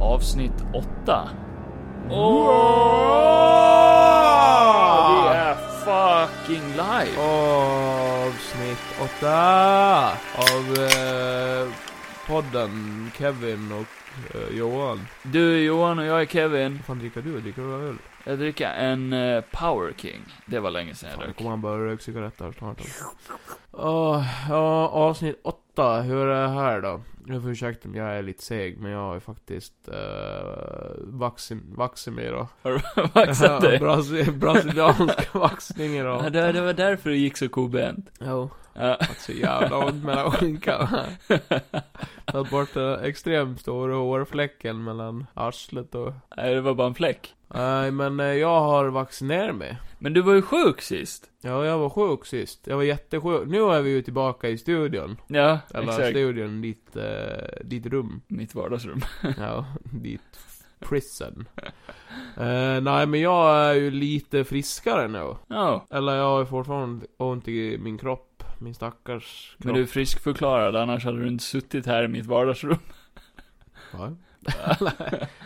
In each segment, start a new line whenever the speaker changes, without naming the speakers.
avsnitt 8. Det är fucking live!
Avsnitt 8 av eh, podden Kevin och eh, Johan.
Du är Johan och jag är Kevin.
Vad fan dricker du? Dricker du öl?
Jag dricker en eh, Power King. Det var länge sedan jag
Fan,
drack.
kommer han börja röka cigaretter snart. alltså. Åh, ja, avsnitt 8. Hur är det här då? Jag får ursäkta om jag är lite seg, men jag är faktiskt eh, vaccin, vaxig mig då.
Har du vaxat dig?
Brasi- Brasiliansk vaxning
Ja,
idag.
det, det var därför det gick så kobent.
Jo.
Ja.
Att så jävla ont mellan skinkan. Tagit bort den extremt stora hårfläcken mellan arslet och...
Nej, det var bara en fläck.
Nej, men eh, jag har vaccinerat mig.
Men du var ju sjuk sist.
Ja, jag var sjuk sist. Jag var jättesjuk. Nu är vi ju tillbaka i studion.
Ja,
Eller alltså,
exakt.
studion, ditt, eh, ditt rum.
Mitt vardagsrum.
Ja, ditt prison. Eh, nej, men jag är ju lite friskare nu.
Ja.
Eller jag har ju fortfarande ont i min kropp. Min stackars kropp.
Men du är friskförklarad, annars hade du inte suttit här i mitt vardagsrum.
Va?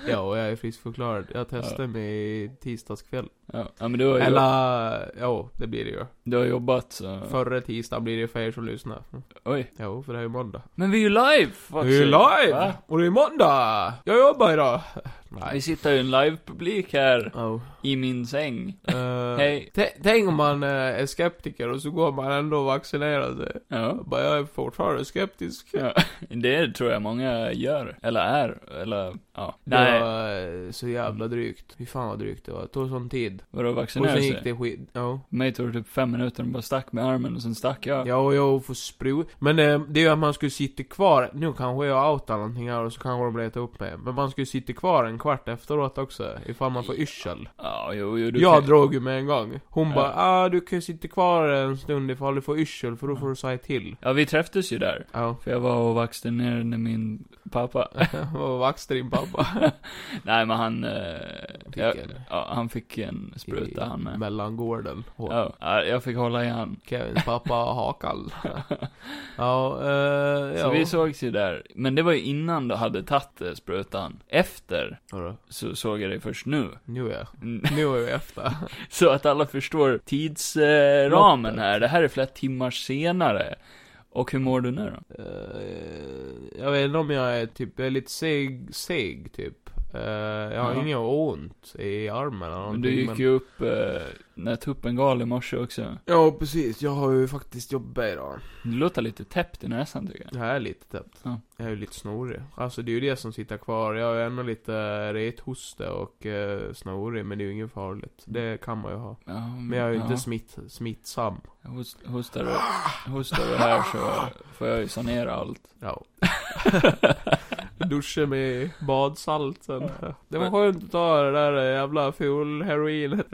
ja, och jag är friskförklarad. Jag testade mig i tisdags kväll.
Ja, ja, men du har, ju,
Eller, ja, det blir det ju.
du har jobbat så...
Förra tisdagen blir det för er som lyssnar.
Oj.
Jo, för det är ju måndag.
Men vi är ju live! fuck
Vi är
sake.
live!
Va?
Och det är måndag! Jag jobbar idag!
Vi sitter i en live-publik här,
Oh.
i min säng.
Eh,
Hej.
tä- Tänk om man eh, är skeptiker och så går man ändå och vaccinerar sig.
Ja.
Bara, jag är fortfarande skeptisk.
ja. Det tror jag många gör, eller är, eller ja.
Det
Nej,
var eh, så jävla drygt. Fy fan vad drygt det var. Det tog sån tid.
vadå
och
vaccinera
sen gick
sig?
det skit... Ja.
Mig tog det typ fem minuter, de bara stack med armen och sen stack jag.
Ja, och jag får sprut. Men eh, det är ju att man skulle sitta kvar. Nu kanske jag outar någonting här och så kanske de letar upp mig. Men man skulle sitta kvar en kvart efteråt också. Ifall man får yrsel.
Ja, jo, jo, du
jag
kan...
drog ju med en gång. Hon
Ja.
bara, ah du kan ju sitta kvar en stund ifall du får yrsel för då får du säga till.
Ja, vi träffades ju där.
Ja.
För jag var och vaccinerade min pappa.
Vad vaxte din pappa?
Nej, men han... Eh,
Fick
jag,
en.
ja, han fick en spruta han med.
Mellangården. Hår.
Ja, ja, jag fick hålla i han.
Kevins pappa har hakal. ja, eh,
Så
ja.
vi sågs ju där. Men det var ju innan du hade tagit eh, sprutan. Efter
Vadå?
så såg jag dig först nu.
Nu är jag.
Mm,
Nu är jag efter.
Så att alla förstår tidsramen eh, ramen här. Det här är flera timmar senare. Och hur mår du nu då?
Eh, jag vet inte om jag är typ, jag är lite seg, seg typ. Eh, jag har
Ja.
inget ont i armen eller
Men
någonting.
du gick ju upp eh, när tuppen gal i morse också.
Ja, precis. Jag har ju faktiskt jobbat idag.
Du låter lite täppt i näsan tycker jag.
Det här är lite täppt.
Ja.
Jag är ju lite snorig. Alltså det är ju det som sitter kvar. Jag har ju ändå lite rethosta och eh, snorig, men det är ju inget farligt. Det kan man ju ha.
Ja,
Men jag är ju inte
ja.
smitt, smittsam.
Host, hostar, du, hostar du här så får jag ju sanera allt.
Ja. Duscha med badsalt sen. Det var skönt att ta det där jävla full heroinet.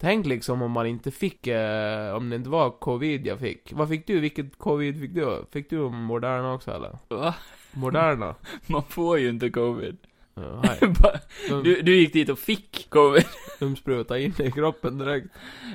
Tänk liksom om man inte fick, eh, om det inte var covid jag fick. Vad fick du? Vilket covid fick du? Fick du Moderna också eller?
Va?
Moderna?
Man får ju inte covid.
Ja, nej.
Bara-
De,
Du, du gick dit och fick covid.
de sprutar in i kroppen direkt.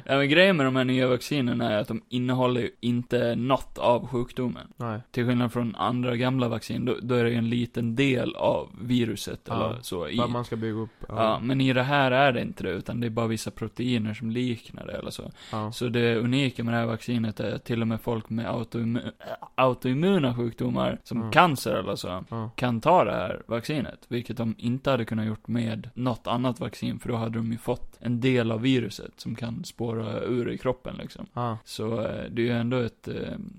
Ja, men grejen med de här nya vaccinerna är att de innehåller ju inte något av sjukdomen.
Nej.
Till skillnad från andra gamla vaccin, då, då är det ju en liten del av viruset
Ja,
eller så i.
Vad man ska bygga upp.
Ja, men i det här är det inte det, utan det är bara vissa proteiner som liknar det eller så.
ja.
Så det unika med det här vaccinet är att till och med folk med autoimmu- autoimmuna sjukdomar, som
Mm.
cancer eller så,
Ja.
kan ta det här vaccinet. Vilket de inte hade kunnat gjort med något annat vaccin, för då hade de ju fått en del av viruset som kan spåra ur i kroppen liksom.
Ja.
Så eh, det är ju ändå ett eh,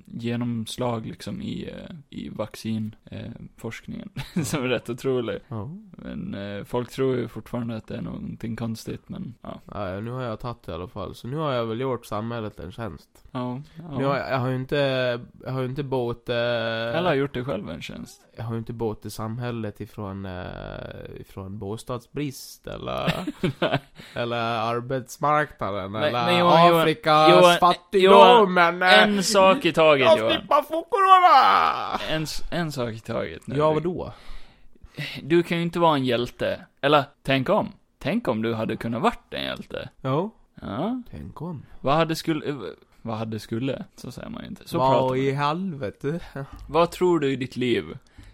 genomslag liksom i, eh, i vaccinforskningen som är rätt otrolig.
Ja.
Men eh, folk tror ju fortfarande att det är någonting konstigt, men ja.
Ja, nu har jag tagit det i alla fall. Så nu har jag väl gjort samhället en tjänst.
ja,
Men
ja.
Jag, jag har ju inte, jag har ju inte bott, eh,
Eller har gjort det själv en tjänst.
jag har ju inte bott i samhället ifrån, eh, ifrån bostadsbrist eller, eller arbetsmarknaden
Men-
eller
men Johan, Johan,
Afrikas
Johan,
fattigdom men, eh,
En sak i taget
jag
Johan.
slipper få corona!
En, s- en sak i taget nu.
Ja, vadå?
Du kan ju inte vara en hjälte. Eller, tänk om. Tänk om du hade kunnat varit en hjälte.
Jo,
Ja.
tänk om.
Vad hade skulle... eh, Vad hade skulle? Så säger man ju inte. Så pratar
Vad
man.
i helvete?
Vad tror du i ditt liv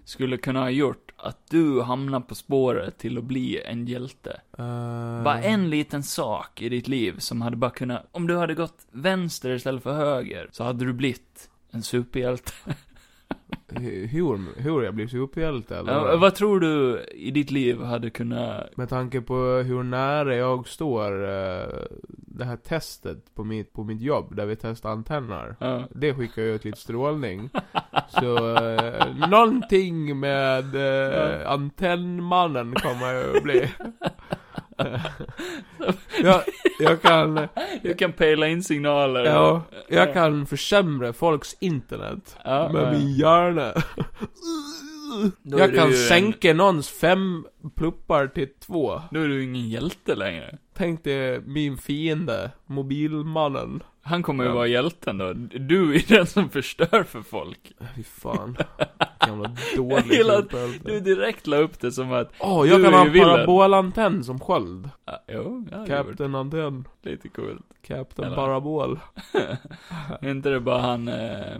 skulle kunna ha gjort att du hamnar på spåret till att bli en hjälte?
Eh,
Bara en liten sak i ditt liv som hade bara kunnat, om du hade gått vänster istället för höger, så hade du blivit en superhjälte.
hu- Hur, hur jag blir superhjälte eller?
Eh, vad tror du i ditt liv hade kunnat,
Med tanke på hur nära jag står eh, det här testet på mitt, på mitt jobb, där vi testar antenner.
ja.
Det skickar ju ut lite strålning. Så eh, någonting med eh, antennmannen kommer jag att bli. jag, jag kan,
du kan pejla in signaler.
jag, jag kan försämra folks internet.
Ja, ja.
Med min hjärna.
Då är
jag
du
kan
en-
sänka någons fem pluppar till två.
Då är du ingen hjälte längre.
Tänk dig min fiende, mobilmannen.
Han kommer ju
Ja.
vara hjälten då. Du är den som förstör för folk.
Fy fan. Jävla dålig
Jag gillar att Du
superhjälte.
direkt la upp det som att,
Åh, jag
du
kan
är
ha
ju
en
villan.
parabolantenn som sköld.
ah, jo, ja, det var
Captain Antenn.
lite coolt.
Captain
Eller-
Parabol.
Är inte det bara han, eh,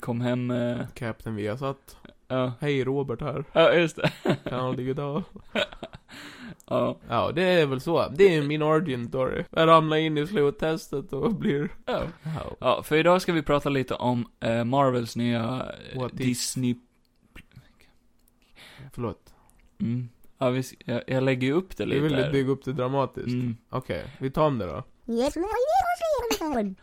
kom hem, eh,
Captain Viasat.
ja.
Hej Robert här.
Ja, just det.
Kanal Digital.
Ja,
ja, det är väl så. Det är min origin story. Jag ramlar in i sluttestet och blir...
ja.
Ja.
Ja, för idag ska vi prata lite om eh, Marvels nya eh,
What if?
Disney...
Förlåt.
Mm. Ja, vi, s- jag, jag lägger ju upp det
Vi
lite
ville
här.
bygga upp det dramatiskt.
mm.
Okej, vi tar om det då.
Yes, my little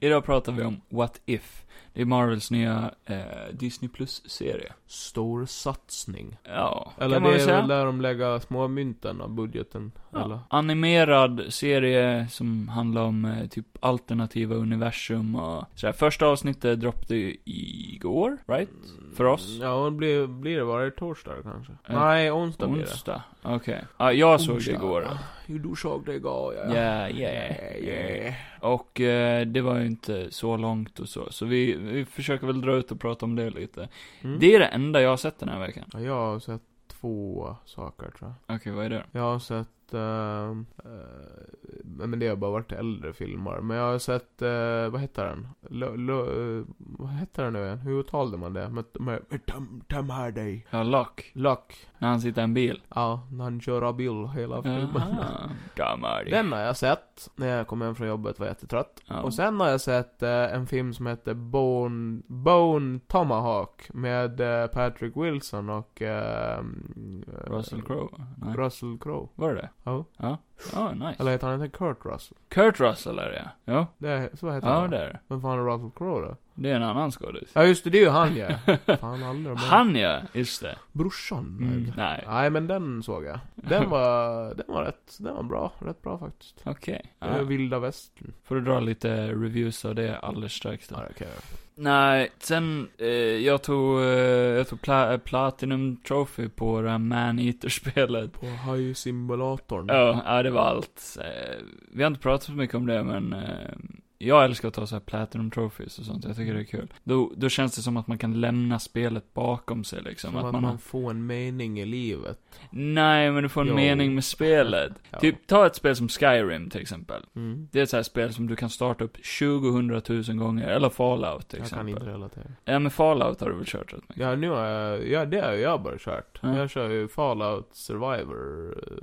Idag pratar vi om What If. Det är Marvels nya eh, Disney Plus-serie.
Stor satsning.
Ja,
Eller
kan man
det
väl
är
säga.
väl där de lägger småmynten av budgeten. Eller?
Ja. Animerad serie som handlar om eh, typ alternativa universum och sådär. Första avsnittet droppade ju igår, right?
Mm,
För oss?
Ja, och blir, blir det varje torsdag kanske?
Eh,
Nej, onsdag, Ah, blir det.
Onsdag? Okej. Ja, jag såg det
Onsdag.
igår.
Jo, du såg det igår ja. Eh,
Yeah, yeah, yeah. Och eh, det var ju inte så långt och så, så vi, vi försöker väl dra ut och prata om det lite.
Mm.
Det är det enda jag har sett den här veckan.
Ja, jag har sett två saker tror jag.
Okej, vad är det
Jag har sett, eh, eh, men det har bara varit äldre filmer. Men jag har sett, eh, vad heter den? Lo, lo, eh, vad heter den nu igen? Hur uttalade man det? Med, med, med Tom, Tom Hardy.
Ja, Lock.
Luck.
När han sitter i en bil.
Ja, när han kör bil hela filmen.
Jaha. Gammal.
Den har jag sett när jag kom hem från jobbet, var jättetrött.
Ja.
Och sen har jag sett eh, en film som heter Bone, Bone Tomahawk med eh, Patrick Wilson och eh,
Russell Crowe? Nej.
Russell Crowe.
Var det det?
Ja.
Ja. Ja, nice.
Eller heter han inte Kurt Russell?
Kurt Russell är det, ja.
Det är, så heter
Ja,
han.
det är det.
Vem fan är Russell Crowe då?
Det är en annan skådis.
Ja just det, det är ju han ja. fan aldrig med.
Han ja, just det.
Brorsan?
Mm,
eller?
nej,
Nej men den såg jag. Den var, den var rätt, den var bra. Rätt bra faktiskt.
okej.
Eh,
Ja.
Vilda västern.
Får du dra lite reviews av det alldeles strax då.
Ja, det kan jag göra.
Nej, sen, eh, jag tog, eh, jag tog pla- eh, Platinum Trophy på det här Man-Eater-spelet.
På hajsimulatorn.
Ja, ja, det var allt. Eh, vi har inte pratat så mycket om det, men eh, jag älskar att ta så här Platinum Trophies och sånt. Jag tycker det är kul. Då, då känns det som att man kan lämna spelet bakom sig liksom.
Som att, man,
har
får en mening i livet.
Nej, men du får en
Jo.
mening med spelet.
Ja.
Typ, ta ett spel som Skyrim till exempel.
Mm.
Det är ett så här spel som du kan starta upp 20 hundratusen gånger, eller Fallout till
Jag kan
exempel.
inte relatera.
Ja, men Fallout har du väl kört rätt mycket?
Ja, nu har jag, ja det har jag bara kört.
Ja.
Jag kör ju Fallout Survivor eh,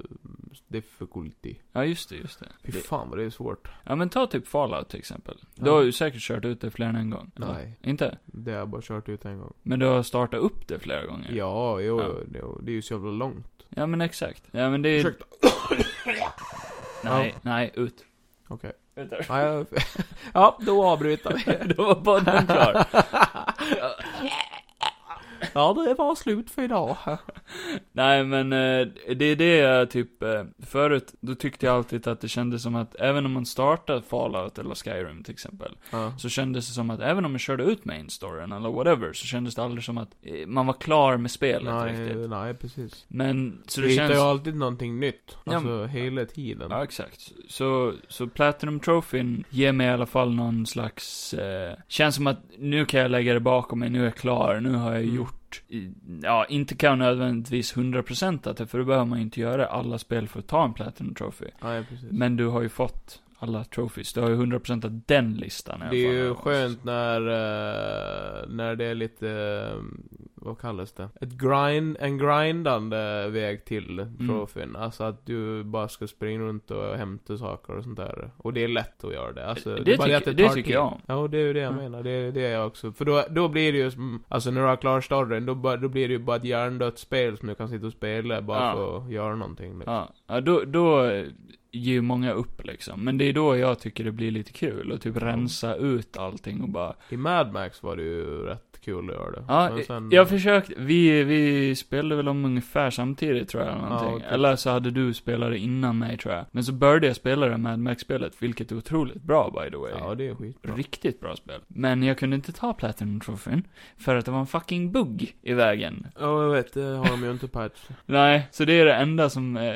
difficulty.
Ja, just det, just det.
Fy
det.
fan vad det är svårt.
Ja, men ta typ Fallout till exempel. Du
Ja.
har ju säkert kört ut det fler än en gång. eller?
Nej.
Inte?
Det har jag bara kört ut en gång.
Men du har startat upp det flera gånger?
Ja, jo,
Ja.
jo, det är ju så jävla långt.
Ja, men exakt. Ja, men det är...
Ursäkta.
Nej, nej, ut.
Okej.
Ut där.
Ja, jag- ja, då avbryter vi.
Då var podden klar.
Ja, det var slut för idag.
Nej, men eh, det är det jag typ, eh, förut, då tyckte jag alltid att det kändes som att även om man startade Fallout eller Skyrim till exempel,
Ja.
så kändes det som att även om man körde ut main storyn eller whatever, så kändes det aldrig som att eh, man var klar med spelet riktigt.
Nej, nej, precis.
Men, så
Så
det
du hittar
känns...
ju alltid någonting nytt.
Ja,
Alltså, hela tiden.
Ja, exakt. Så, så Platinum Trophyn ger mig i alla fall någon slags... Eh, känns som att nu kan jag lägga det bakom mig, nu är jag klar, nu har jag
Mm.
gjort... i- Ja, inte kan jag nödvändigtvis 100% att det, för då behöver man ju inte göra alla spel för att ta en Platinum Trophy.
Nej, precis.
Men du har ju fått alla trophies, du har ju 100% av den listan i alla
Det är
fall.
ju skönt när, eh, när det är lite, eh, vad kallas det? Ett grind, en grindande väg till
Mm.
trofén. Alltså att du bara ska springa runt och hämta saker och sånt där. Och det är lätt att göra det. Alltså,
det,
är bara
tycker,
att
det,
tar
tycker
tid.
jag om.
Ja, det är ju det jag
Mm.
menar. Det är det jag också. För då, då blir det ju, som- alltså när du har klarat storyn, då, bara- då blir det ju bara ett hjärndött spel som du kan sitta och spela bara
Ja.
för att göra någonting. Liksom.
Ja, ja då, då eh, ger ju många upp liksom. Men det är då jag tycker det blir lite kul och typ rensa ut allting och bara.
I Mad Max var det ju rätt kul att göra det.
Ja,
Men sen-
jag försökte, vi, vi spelade väl om ungefär samtidigt tror jag eller
Ja,
någonting.
okej.
Eller så hade du spelat det innan mig tror jag. Men så började jag spela det Mad Max-spelet, vilket är otroligt bra by the way.
Ja, det är skitbra.
Riktigt bra spel. Men jag kunde inte ta Platinum Trophyn, för att det var en fucking bugg i vägen.
Ja, jag vet. Det har de ju inte patch.
Nej, så det är det enda som eh,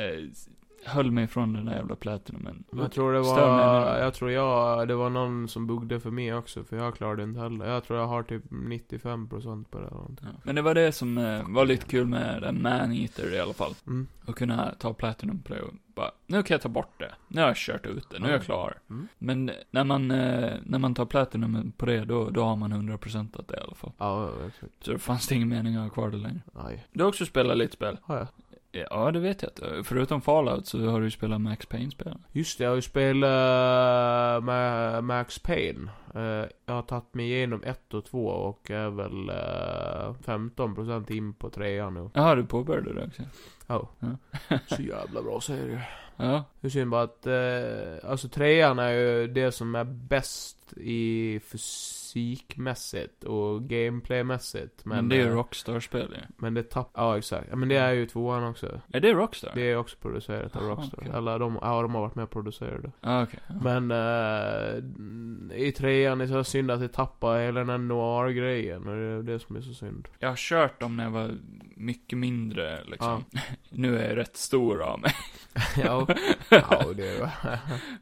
höll mig från den där jävla Platinumen.
Jag tror det
Stör mig
var,
nu.
jag tror jag, det var någon som buggade för mig också, för jag klarade inte heller. Jag tror jag har typ 95% på det eller någonting.
Ja. Men det var det som eh, var lite kul med den Maneater i alla fall.
Mm.
Att kunna ta Platinum på det och bara, nu kan jag ta bort det. Nu har jag kört ut det, nu är jag
Ja.
klar.
Mm.
Men när man, eh, när man tar Platinum på det, då, då har man 100% det i alla fall.
Ja, exakt.
Så då fanns det ingen mening att ha kvar det längre.
Nej.
Du har också spelat lite spel.
Har jag?
Ja, det vet jag inte. Förutom Fallout så har du ju spelat Max Payne-spel.
Just det, jag har ju spelat med Max Payne. Eh, jag har tagit mig igenom 1 och 2 och är väl eh, 15% in på 3 nu.
Jaha, du påbörjade det också?
Ja.
Ja.
Så jävla bra serie.
Ja.
Det är synd bara att, eh, alltså trean är ju det som är bäst i fysikmässigt och gameplaymässigt.
Men,
Men,
Mm, det är ju
eh,
Rockstar-spel ju.
Men det tapp... Ja, exakt. Ja, men det är ju tvåan också.
Är det Rockstar?
Det är också producerat av
Jaha,
Rockstar.
okej.
Eller de, ja, de har varit med och producerat det.
Ah, okej. Ja.
Men eh, i trean det är så synd att det tappar hela den här noir-grejen. Och det är det som är så synd.
Jag har kört dem när jag var mycket mindre liksom. Nu är jag rätt stor av mig.
ja, ja, det är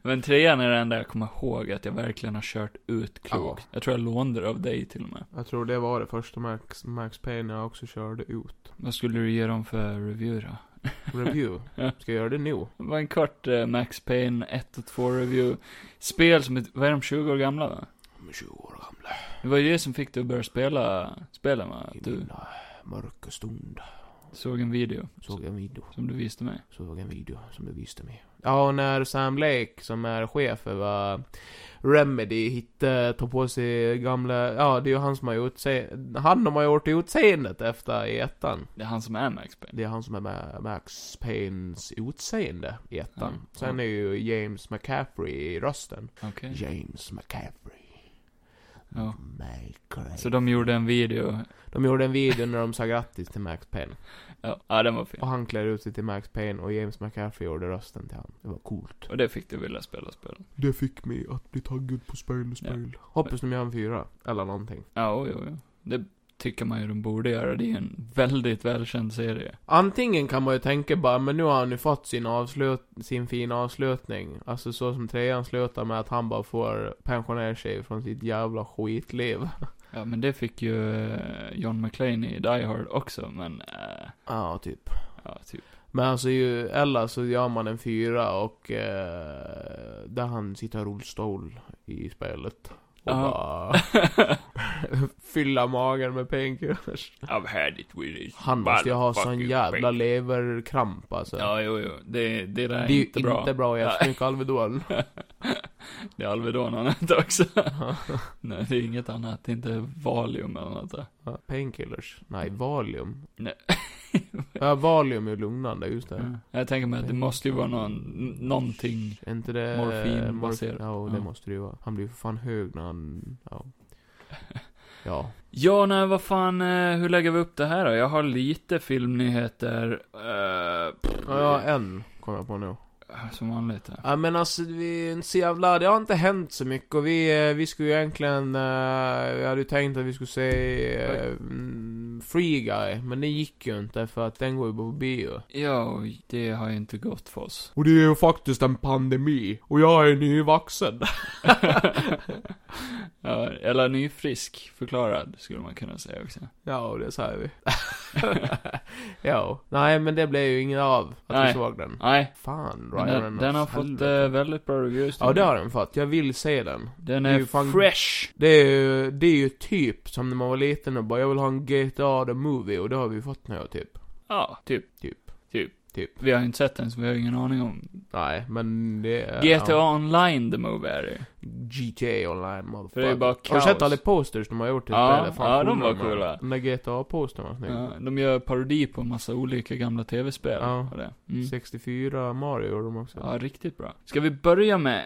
Men trean är det enda jag kommer ihåg att jag verkligen har kört ut klokt. Jag tror jag lånade det av dig till och med.
Jag tror det var det första Max, Max Payne jag också körde ut.
Vad skulle du ge dem för review då?
Review. Ska jag göra det nu?
Det var en kort eh, Max Payne 1 och 2 review. Spel som, är, vad är de, 20 år gamla va?
De är 20 år gamla.
Det var ju det som fick dig att börja spela spelen va? Att
I
du
mina mörka stund
såg en video
såg jag en video.
som du visste mig.
Såg jag en video som du visste mig. Ja, och när Sam Lake, som är chef över Remedy, hittade, tog på sig gamla... Ja, det är ju han som har gjort se- Han de har gjort utseendet efter i ettan.
Det är han som är Max Payne.
Det är han som är med Max Paynes utseende i ettan.
Mm.
Sen är ju James McCaffrey i rösten.
Okej.
James McCaffrey.
Ja.
McCaffrey.
Så de gjorde en video.
De gjorde en video när de sa grattis till Max Payne.
Ja, ja den var fin.
Och han klär ut sig till Max Payne och James McCaffrey gjorde rösten till han. Det var coolt.
Och det fick du vilja spela spelen.
Det fick mig att bli taggad på spel och
spel.
Hoppas de gör en fyra. Eller någonting.
Ja, oj, oj, oj. Det tycker man ju de borde göra. Det är en väldigt välkänd serie.
Antingen kan man ju tänka bara, men nu har han ju fått sin avslut, sin fina avslutning. Alltså så som trean slutar med att han bara får pensionera sig från sitt jävla skitliv.
Ja, men det fick ju eh, John McClane i Die Hard också, men... eh,
Ja, typ.
ja, typ.
Men alltså ju, eller så gör man en fyra och eh, där han sitter i rullstol i spelet. Och
Ja.
bara fylla magen med painkillers.
I've had it with it.
Han måste ju ha sån jävla leverkramp alltså.
Ja, jo, jo. Det, det där är,
det är ju
inte bra.
bra att äta mycket Alvedon.
Det är Alvedon han äter också. Nej, det är inget annat. Det är inte Valium eller något där.
Ja, Painkillers? Nej, Valium.
Mm. Nej. Mm.
Ja, Valium är ju lugnande, just det.
Ja. Jag tänker mig att det måste ju vara någon, någonting.
Är inte det...
Morfinbaserat.
morf- Ja, det
Ja.
måste det ju vara. Han blir ju för fan hög när han... Ja. Ja.
Ja, nej, vad fan, eh, hur lägger vi upp det här då? Jag har lite filmnyheter. Eh, pff,
Ja, en kom jag på nu.
Som vanligt. ja.
Ja men alltså, vi är inte så jävla, det har inte hänt så mycket och vi, eh, vi skulle ju egentligen, eh, vi hade ju tänkt att vi skulle se eh, mm, Free Guy, men det gick ju inte för att den går ju på bio.
Ja, och det har ju inte gått för oss.
Och det är ju faktiskt en pandemi, och jag är nyvaxen.
ja, eller nyfrisk förklarad, skulle man kunna säga också.
Ja, det säger vi. ja. Nej men det blev ju inget av att
Nej.
vi såg den.
Nej,
Fan,
men den,
Ryan
den har
åt
fått
helvete.
eh, väldigt bra reviews.
Ja det har den fått, jag vill se den.
Den
Det är
är
ju fan-
fresh.
Det är ju, det är ju typ som när man var liten och bara, jag vill ha en GTA Blood a Movie och det har vi fått nu typ.
Ja, typ.
Typ.
Typ.
Typ.
Vi har ju inte sett den, så vi har ingen aning om.
Nej, men det är...
GTA
ja,
Online, the movie är det ju.
GTA online, motherfucker.
För det är ju bara
Har du
kaos.
sett alla posters de har gjort till
Ja,
spelet?
ja, de
coola
var
man.
coola.
Den där GTA-postern var snygg.
Ja, de gör parodi på en massa olika gamla tv-spel.
Ja.
Och det. Mm.
64 Mario gjorde de också.
Ja, riktigt bra. Ska vi börja med,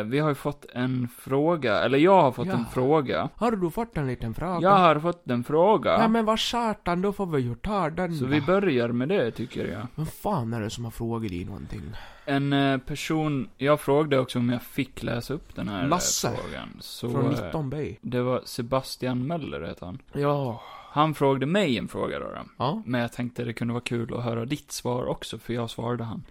eh, vi har ju fått en fråga, eller jag har fått
Ja.
en fråga.
Har du fått en liten fråga?
Jag har fått en fråga.
Nej men vad satan, då får vi ju ta den
Så
då.
vi börjar med det, tycker jag.
Vem fan är det som har frågat dig någonting?
En eh, person, jag frågade också om jag fick läsa upp den här eh,
Lasse.
frågan. Så,
Från
eh,
19B?
Det var Sebastian Möller, heter han.
Ja.
Han frågade mig en fråga då, då.
Ja.
Men jag tänkte det kunde vara kul att höra ditt svar också, för jag svarade han.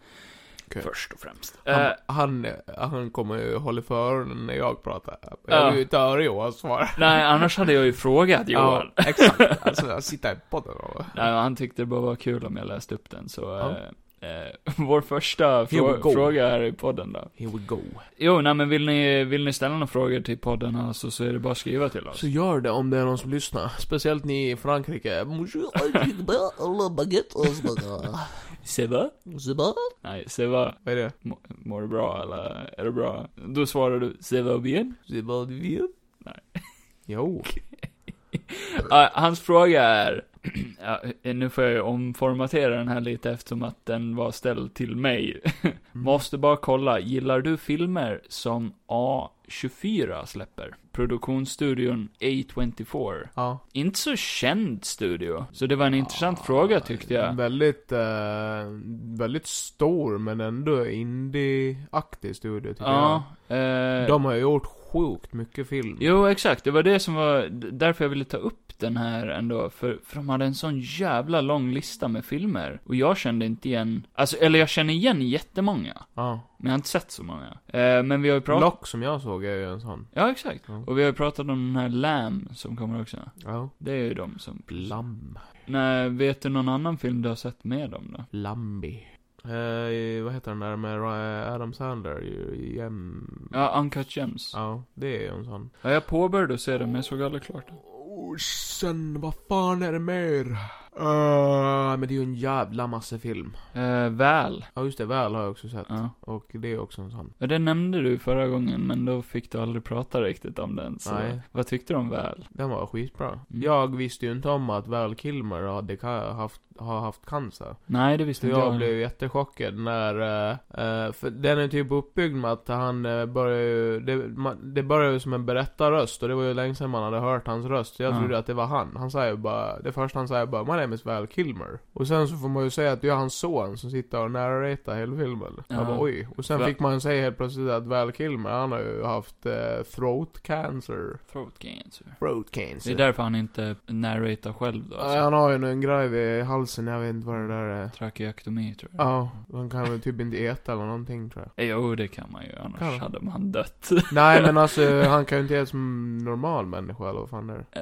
Okej.
Först och främst. Eh,
Han, han, han kommer ju hålla för öronen när jag pratar.
Ja.
Jag vill ju inte höra Johan svara.
nej, annars hade jag ju frågat Johan.
Ja, exakt. Alltså, jag sitter i podden och...
Nej, men han tyckte det bara var kul om jag läste upp den, så...
Ja.
Eh, eh, vår första
we go.
frå- fråga här i podden då.
Here we go.
Jo, nej men vill ni, vill ni ställa några frågor till podden alltså, så är det bara att skriva till oss.
Så gör det om det är någon som lyssnar. Speciellt ni i Frankrike. Bonjour, je veux la baguette au smör.
Se va?
C'est bon?
Nej, se va.
Vad är det?
Mår- Mår du bra eller är det bra? Då svarar du, se va bien?
C'est bon, du vieux?
Nej.
Jo.
Ah, hans fråga är, ja, eh, nu får jag ju omformatera den här lite eftersom att den var ställd till mig. Måste bara kolla, gillar du filmer som A24 släpper? Produktionsstudion A24.
Ja.
Inte så känd studio. Så det var en intressant
Ja,
fråga tyckte jag.
Väldigt, eh, väldigt stor men ändå indie-aktig studio tycker
Ja.
jag.
Eh,
De har ju gjort sjukt mycket film.
Jo, exakt. Det var det som var, d- därför jag ville ta upp den här ändå. För, för de hade en sån jävla lång lista med filmer. Och jag kände inte igen, alltså, eller jag känner igen jättemånga.
Ja.
Men jag har inte sett så många. Eh, men vi har ju pratat...
Lock som jag såg är ju en sån.
Ja, exakt.
Ja.
Och vi har ju pratat om den här Lamb som kommer också.
Ja.
Det är ju de som...
Lamm.
Nej, vet du någon annan film du har sett med dem då?
Lambi. Eh, vad heter den där med Ra- Adam Sandler? Ju- Jäm...
Ja, Uncut Gems. Ja.
Ja, det är ju en sån.
jag påbörjade att se den, men jag såg aldrig klart den.
Och Oh, sen, vad fan är det mer? Eh, men det är ju en jävla massa film.
Eh, väl.
Ja, just det. Väl har jag också sett.
Ja.
Och det är också en sån.
Ja, det nämnde du förra gången, men då fick du aldrig prata riktigt om den. Så
Nej.
vad tyckte du om väl?
Den var skitbra.
Mm.
Jag visste ju inte om att Val Kilmer hade ka- haft, har haft cancer.
Nej, det visste
Så
inte jag.
jag blev jättechockad när, eh, eh, för den är typ uppbyggd med att han uh, börjar ju, det, man, det börjar ju som en berättarröst och det var ju länge sedan man hade hört hans röst. Så jag
Ja.
trodde att det var han. Han säger bara, det första han säger bara 'My name is Val Kilmer' Och sen så får man ju säga att det är hans son som sitter och narratar hela filmen.
Ja.
Jag bara oj. Och sen
Va-
fick man säga helt plötsligt att Val Kilmer, han har ju haft eh, throat cancer.
Throat cancer.
Throat
Det
cancer.
är därför han inte narratar själv då. alltså.
Ja, Han har ju en grej vid halsen, jag vet inte vad det där är.
Trakeotomi, tror jag.
Ja, han kan väl typ inte äta eller någonting tror jag.
Eh, Jo, det kan man ju, annars
Kan man?
hade man dött.
Nej men alltså, han kan ju inte äta som normal människa eller vad fan det är.
Eh,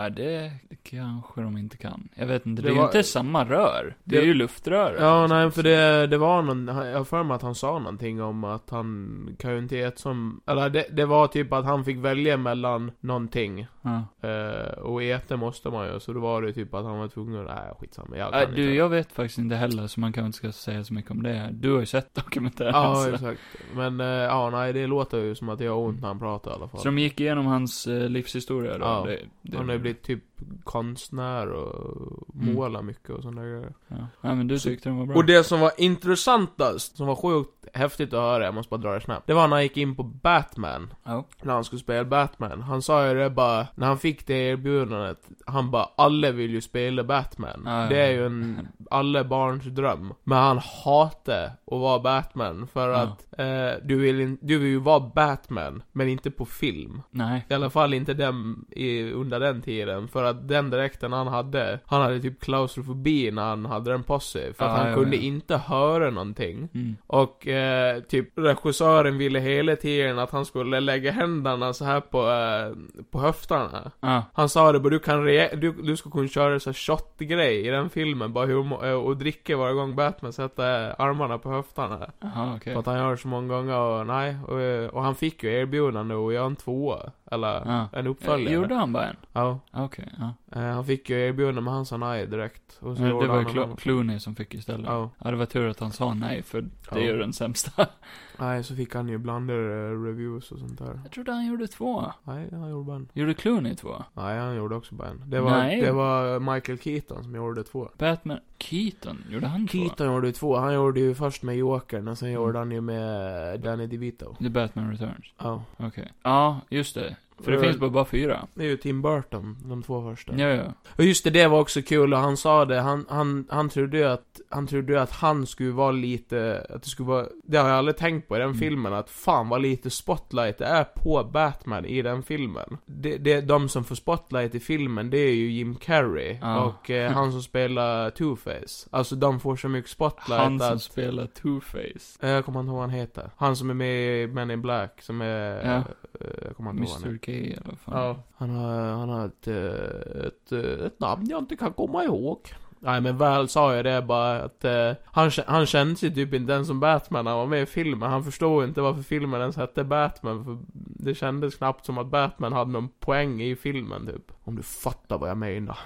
Ja, det kanske de inte kan. Jag vet inte, det,
Det
är ju
var-
inte samma rör. Det,
Det-
är ju liksom. luftrör.
Ja, nej för det, det var någon, han- jag har för mig att han sa någonting om att han kan ju inte äta som, eller det, det var typ att han fick välja mellan någonting.
Ja.
eh, och äta måste man ju, så då var det typ att han var tvungen, nej skitsamma, jag kan
Eh,
inte.
Du, jag vet faktiskt inte heller, så man kanske inte ska säga så mycket om det. här. Du har ju sett dokumentären. alltså.
Ja,
så-
exakt. Men, eh, ja nej det låter ju som att jag har ont när han pratar i alla fall.
Så de gick igenom hans eh, livshistoria då?
Ja.
Det, det,
Han har ju blivit typ konstnär och
Mm.
målar mycket och sådana grejer.
Ja. Nej, men du tyckte den var bra?
Och det som var intressantast, som var sjukt häftigt att höra, jag måste bara dra det snabbt. Det var när han gick in på Batman,
Ja.
när han skulle spela Batman. Han sa ju det bara, när han fick det erbjudandet, han bara 'Alla vill ju spela Batman'
Ja, ja.
Det är ju en, alla barns dröm. Men han hatar att vara Batman, för
Ja.
att eh, du, vill in, du vill ju vara Batman, men inte på film.
Nej.
I alla fall inte dem i, under den tiden, för att den dräkten han hade, han hade typ typ klaustrofobi när han hade den på sig. För att
Ja,
han
ja,
kunde
ja.
inte höra någonting.
Mm.
Och eh, typ regissören ville hela tiden att han skulle lägga händerna så här på, eh, på höfterna.
Ja.
Han sa det bara, du kan re- du, du ska kunna köra så här shot-grej i den filmen, bara hur, må- eh, och dricka varje gång Batman sätter armarna på höfterna.
Jaha, okej.
För att han gör så många gånger och nej, och, eh, och han fick ju erbjudande att göra en tvåa, eller
Ja.
en
Eh,
uppföljare.
Gjorde han bara en? Ah,
Ja.
Okej, ja.
Eh, han fick ju erbjudande men han sa nej direkt. Och så
Men
gjorde
Det var
han
ju
en
Clo-
annan.
Clooney som fick istället. Ja.
Ja.
det var tur att han sa nej, för det
Ja.
är ju den sämsta.
Nej, så fick han ju blandade eh, reviews och sånt där.
Jag trodde han gjorde två.
Nej, han gjorde bara en.
Gjorde Clooney två?
Nej, han gjorde också bara en. Det var,
Nej.
det var Michael Keaton som gjorde två.
Batman... Keaton? Gjorde han två?
Keaton gjorde ju två. Han gjorde ju först med Jokern och sen
Mm.
gjorde han ju med Danny DeVito.
The Batman Returns.
Ja.
Okej. Ja, just det. För det
Eh,
finns bara, bara fyra.
Det är ju Tim Burton, de två första.
Ja, ja.
Och just det, det var också kul och han sa det, han, han, han trodde ju att, han trodde ju att han skulle vara lite, att det skulle vara, det har jag aldrig tänkt på i den
Mm.
filmen, att fan vad lite spotlight det är på Batman i den filmen. Det, det, de som får spotlight i filmen, det är ju Jim Carrey
Ja.
och eh, han som spelar Two-Face. Alltså de får så mycket spotlight
Han som
att...
spelar Two-Face.
eh, Jag kommer inte ihåg vad han heter. Han som är med i Men in Black, som är...
Ja.
eh, Jag kommer inte ihåg vad han heter.
Mr K eller vad fan.
Ja. Han har, han har ett, eh, ett, eh, ett namn jag inte kan komma ihåg. Nej men väl sa jag det bara att eh, han, kä- han kände sig typ inte ens som Batman när han var med i filmen. Han förstod inte varför filmen ens hette Batman för det kändes knappt som att Batman hade någon poäng i filmen typ. Om du fattar vad jag menar.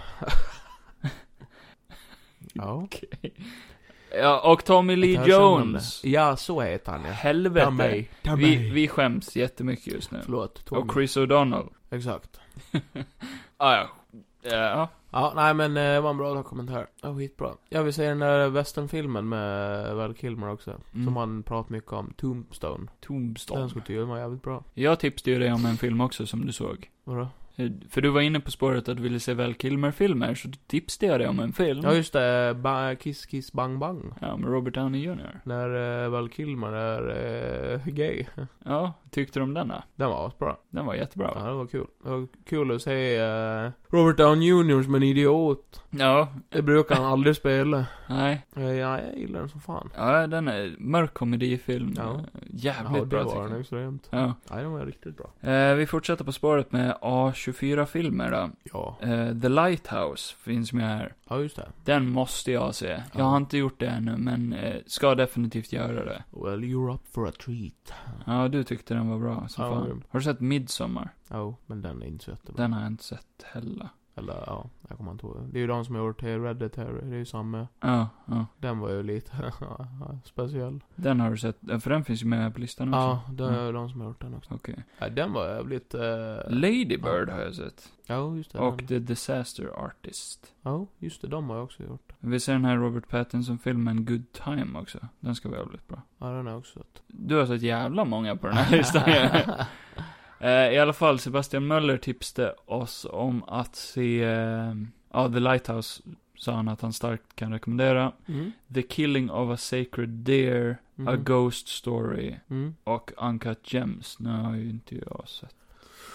ja.
Okej. Ja, och Tommy
Där
Lee
känner man
Jones.
det. Ja, så heter han ja. Ta
Helvete.
mig. Ta
Vi,
mig.
vi skäms jättemycket just nu.
Förlåt, Tommy.
Och Chris O'Donnell.
Exakt.
Ah, ja. Ja.
Ja, nej men eh, det var en bra kommentar. Ja, skitbra. Jag vill se den där westernfilmen med eh, Val Kilmer också.
Mm.
Som han pratar mycket om. Tombstone. Den
Tombstone.
skulle tydligen vara jävligt bra.
Jag tipsade ju dig om en film också som du såg. Eh,
Vadå?
För du var inne på spåret att du ville se Val Kilmer-filmer, så tipsade jag dig om en film.
Ja, just det. Ba- kiss Kiss Bang Bang.
Ja, med Robert Downey Jr.
När eh, Val Kilmer är eh, gay.
Ja, tyckte du om den då?
Den var asbra.
Den var
Ja.
jättebra.
det var kul. Det var kul att se eh, Robert Downey Jr. som en idiot.
Ja,
Det brukar han aldrig spela.
nej.
Eh, ja, jag gillar den som fan.
Ja, den är mörk komedifilm.
Ja.
Jävligt
Ja, det
bra
var
tycker
den
jag.
extremt.
Ja.
Ja, den var riktigt bra.
Eh, vi fortsätter på spåret med A24-filmer då.
Ja.
Eh, The Lighthouse finns med här.
Ja, just det.
Den måste jag se. Jag
Ja.
har inte gjort det ännu, men eh, ska definitivt göra det.
Well, you're up for a treat.
Ja, du tyckte den var bra som
Ja,
fan.
grym.
Har du sett Midsommar?
Ja, men den är inte så jättebra.
Den har jag inte sett heller.
Eller ja, jag kommer inte ihåg. Det är ju de som har gjort till Red Dead Terry, det är ju samma.
Ja, ja.
Den var ju lite speciell.
Den har du sett, för den finns ju med på listan också.
Ja, det är
Mm.
ju de som har gjort den också.
Okej.
Ja, den var jävligt... eh,
Lady Bird har jag sett.
Ja, just det.
Och
den.
The Disaster Artist.
Ja, just det. De har jag också gjort.
Vi ser den här Robert Pattinson-filmen Good Time också. Den ska vara jävligt bra.
Ja, den har jag också sett.
Du har sett jävla många på den här listan eh, I alla fall, Sebastian Möller tipsade oss om att se, eh, ja, The Lighthouse sa han att han starkt kan rekommendera.
mm.
The Killing of a Sacred Deer,
Mm.
A Ghost Story
Mm.
och Uncut Gems. Nu har ju inte jag sett.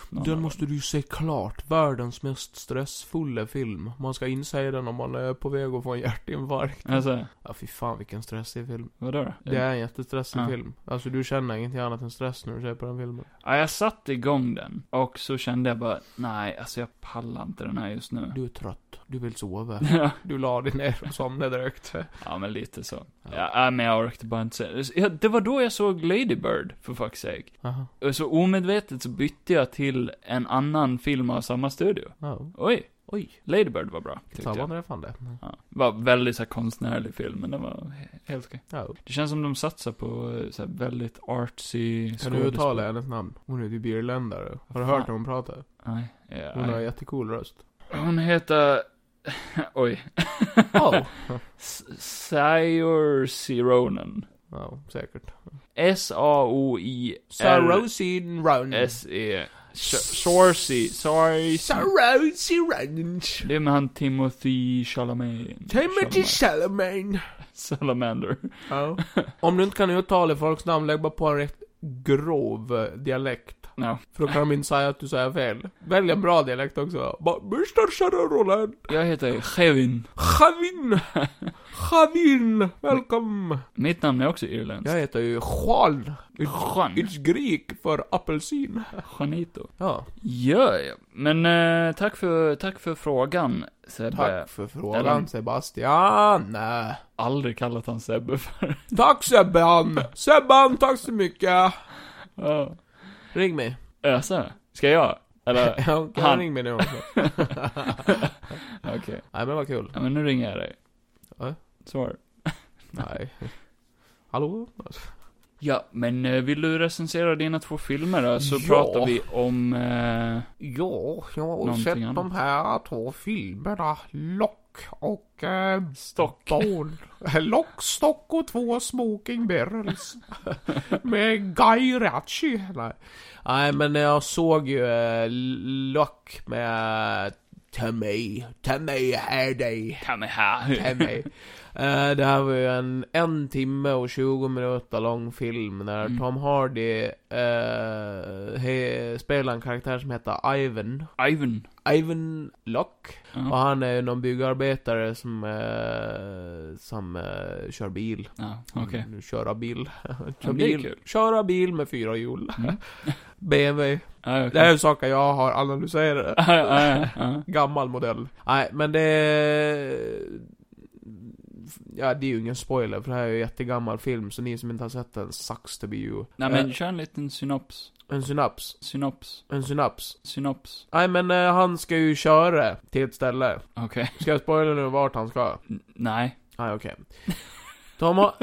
någon av
Den
dem.
måste du ju se klart. Världens mest stressfulla film. Man ska inse den om man är på väg att få en hjärtinfarkt.
Alltså,
Ja, fy fan vilken stressig film.
vadå då?
Det är en jättestressig
Ja.
film. Alltså du känner ingenting annat än stress när du ser på den filmen.
Ja, jag satte igång den och så kände jag bara, nej, alltså jag pallar inte den här just nu.
Du är trött. Du vill sova.
Ja,
Du la dig ner och somnade direkt.
ja, men lite så.
Ja.
Ja, nej, men jag orkade bara inte se. Ja, det var då jag såg Lady Bird, för fuck's sake.
Aha.
Och Så omedvetet så bytte jag till en annan film av samma studio.
Ja.
Oj,
Oj.
Lady Bird var bra, tyckte jag.
Sammanträffande.
Ja, det var väldigt så här, konstnärlig film, men den var he- helt okej.
Ja.
Det känns som de satsar på eh, så här, väldigt artsy
Kan du uttala hennes namn? Hon är typ irländare. Har du
Fan.
hört hur hon pratar?
Nej, ja,
Hon har en
nej.
jättecool röst.
Hon heter... Oj.
Oh.
Sayor Sironen.
ja, säkert.
S-A-O-I-R-S-E.
Sarosin Round.
E. Sorsi. Sorry.
Sarosin Round.
Det är med han Timothy Chalamet.
Timothy
Chalamet.
Chalamet.
Salamander.
Ja. Om du inte kan uttala folks namn, lägg bara på en rätt grov eh, dialekt.
Ja.
För då kan de inte säga att du säger fel. Välj en bra dialekt också. Bara, Mr. Sharon
Jag heter Kevin.
Chavin! Chavin! Welcome!
Mitt namn är också irländskt.
Jag heter ju Juan.
Jean.
It's Greek för apelsin.
Janito.
Ja,
Ja, ja. Men eh, tack, för, tack för frågan, Sebbe.
tack för
Eller-
frågan Sebastian.
Aldrig kallat han Sebbe för.
Tack Sebban! Sebban, tack så mycket!
Ja.
Ring mig.
Ösa? Ska jag? Eller?
Ja, kan
Han.
ring mig nu också.
Okej.
Nej men vad kul.
Ja, men nu ringer jag dig.
Ja.
Svar.
Nej. Hallå?
Ja, men eh, vill du recensera dina två filmer då? Så
Ja.
pratar vi om... Eh,
Ja, jag har
Någonting
sett
annat.
de här två filmerna. Lock och... Eh,
Stock.
Barn. Lock, stock och två smoking barrels. Med Guy Ritchie. Nej. Nej, men jag såg ju eh, Lock med Tommy. Tommy Hardy.
Kom här.
Hemmy. Eh, Det här var ju en en timme och 20 minuter lång film när
Mm.
Tom Hardy eh, he, spelar en karaktär som heter Ivan.
Ivan.
Ivan Locke. Och
Ja.
han är ju någon byggarbetare som, eh, som eh, kör bil.
ja Okej.
Mm, Köra bil.
Ja,
Kör
det är
bil.
kul.
Köra bil med fyra hjul.
Mm.
BMW.
Ja,
Det här
okej.
är saker jag har analyserat.
Ja, ja, ja.
Gammal modell. Nej, men det... Ja, det är ju ingen spoiler, för det här är ju en jättegammal film, så ni som inte har sett den, sucks to be you.
Nej men
Eh,
kör en liten synops.
en synaps.
Synops.
En synaps.
Synops.
Nej, men eh, han ska ju köra till ett ställe.
Okej.
Ska jag spoila nu vart han ska?
N- Nej.
Nej, okej. De har,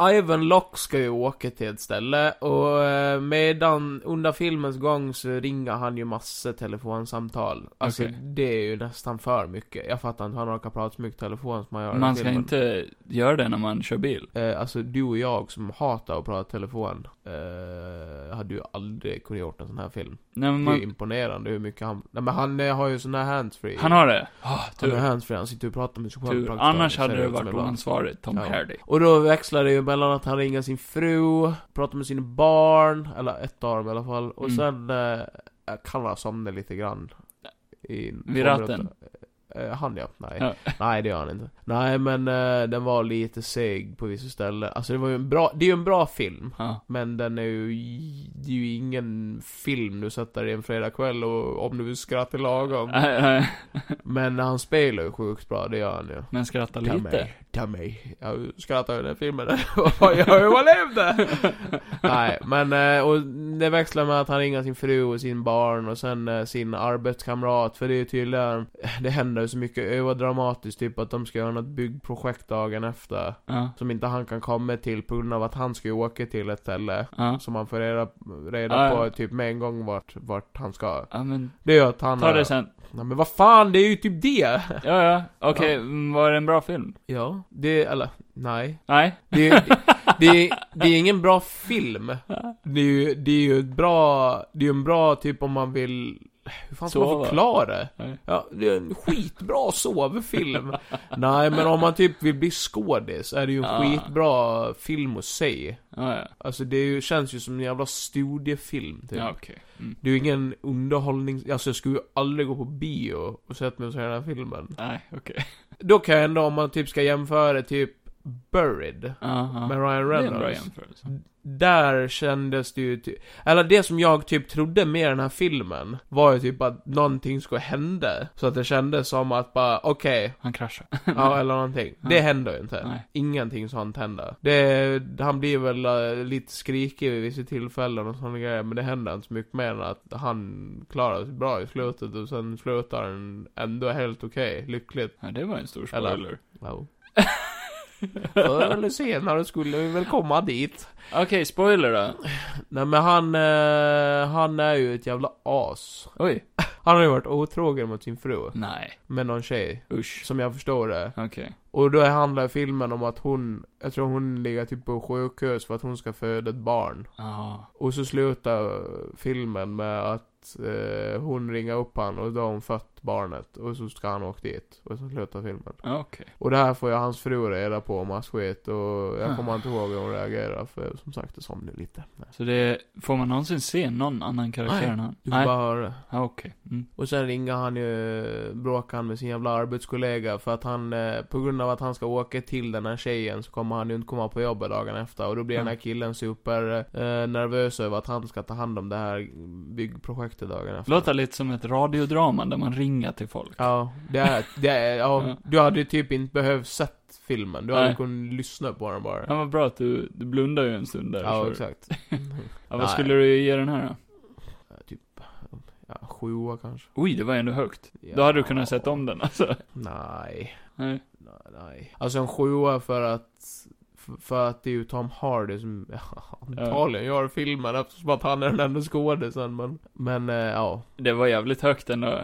eh, Ivan Locke ska ju åka till ett ställe och eh, medan, under filmens gång så ringer han ju massa telefonsamtal. Alltså
Okej.
det är ju nästan för mycket. Jag fattar inte, han orkar prata så mycket telefon som man gör i
Man ska
filmen.
inte göra det när man kör bil.
Eh, alltså du och jag som hatar att prata telefon, eh, hade ju aldrig kunnat gjort en sån här film.
Nej men
Det är ju
man...
imponerande hur mycket han, nej men han eh, har ju sån här handsfree.
Han har det.
han har
tur.
handsfree, han sitter och pratar med sig själv
Tur.
praktiskt
Annars
taget.
hade
Ser
det
ut som
varit
en man.
oansvarigt Tom
Ja.
Hardy.
Och då växlar det ju mellan att han ringer sin fru, pratar med sina barn, eller ett av dem i alla fall, och
Mm.
sen eh, kan han somna lite grann. I två
Vid ratten?
minuter. Eh, han ja, nej.
Ja.
Nej det gör han inte. Nej men eh, den var lite seg på vissa ställen. Alltså det var ju en bra, det är ju en bra film.
Ja.
Men den är ju, det är ju ingen film du sätter dig en fredagkväll och om du vill skratta lagom.
Äh, äh,
Men han spelar ju sjukt bra, det gör han ju.
Men skratta
Ta
lite.
mig, ta mig. Jag skrattar ju i den filmen. jag överlevde! Nej, men eh, och det växlar med att han ringer sin fru och sin barn och sen eh, sin arbetskamrat. För det är ju tydligen, det händer ju så mycket överdramatiskt. Typ att de ska göra något byggprojekt dagen efter.
Ja.
Som inte han kan komma till på grund av att han ska ju åka till ett ställe.
Ja.
Som han får reda, reda
Ah, ja.
på typ med en gång vart, vart han ska.
Ja men,
Det gör att han...
ta det
eh,
sen.
Nej, men vad fan, det är ju typ det!
Ja, ja. Okej, mm, var det en bra film?
Ja, det, eller, nej.
Nej?
Det är, det, är, det är ingen bra film. Det är ju, det är ju ett bra, det är ju en bra typ om man vill, hur fan ska man
Sova.
förklara det?
Nej.
Ja, det är en skitbra sovfilm. Nej, men om man typ vill bli skådis är det ju en
Ja.
skitbra film att se.
Ja, ja.
Alltså det är ju, känns ju som en jävla studiefilm typ.
Ja, okej. Mm.
Det är ju ingen underhållning, alltså jag skulle ju aldrig gå på bio och sätta mig och se den här filmen.
Nej, okej.
Då kan jag ändå, om man typ ska jämföra typ Buried
Ja, ja.
med Ryan
Det är en bra
Reynolds.
jämförelse.
Där kändes det ju ty- Eller det som jag typ trodde med den här filmen Var ju typ att någonting skulle hända Så att det kändes som att bara, okej
Han kraschar.
Ja eller någonting Det
Nej.
händer ju inte
Nej.
Ingenting sånt händer det, Han blir väl eh, lite skrikig vid vissa tillfällen och sådana grejer Men det händer inte så mycket mer än att han klarar sig bra i slutet Och sen slutar den ändå helt okej, lyckligt
Ja, det var en stor
Eller-
spoiler.
wow. Förr eller senare skulle vi väl komma dit
Okej, spoiler då.
Nej men han, eh, han är ju ett jävla as.
Oj.
Han har ju varit otrogen mot sin fru.
Nej.
Med någon tjej.
Usch.
Som jag förstår det.
Okej.
Och då handlar filmen om att hon, jag tror hon ligger typ på sjukhus för att hon ska föda ett barn.
Ja.
Och så slutar filmen med att eh, hon ringer upp han och då har hon fött dödat barnet och så ska han åka dit och så slutar filmen.
Okej.
Och det här får ju hans fru reda på om hans skit och jag kommer inte ihåg hur hon reagerar för som sagt det somnade lite. Nej.
Så det, får man någonsin se någon annan karaktär
Nej,
än han?
Du får bara höra det.
Ja, okej. Mm.
Och sen ringer han ju, bråkar han med sin jävla arbetskollega för att han, eh, på grund av att han ska åka till den här tjejen så kommer han ju inte komma på jobbet dagen efter och då blir den här
Mm.
killen super eh, nervös över att han ska ta hand om det här byggprojektet dagen efter.
Låter lite som ett radiodrama där man ringer till folk.
Ja, det är, det är, ja,
Ja.
du hade ju typ inte behövt sett filmen, du hade
Nej.
kunnat lyssna på den bara.
Ja, vad bra att du, du blundar ju en stund där.
Ja,
för-
exakt.
Ja, vad
Nej.
skulle du ge den här då?
Ja, typ, ja, sjua kanske.
Oj, det var ändå högt. Då hade du kunnat
Ja.
sett om den alltså.
Nej.
Nej.
Nej, nej. Alltså en sjua för att... f- För att det är ju Tom Hardy som antagligen gör filmen eftersom att han är den enda skådisen men... Men eh, ja,
Det var jävligt högt ändå.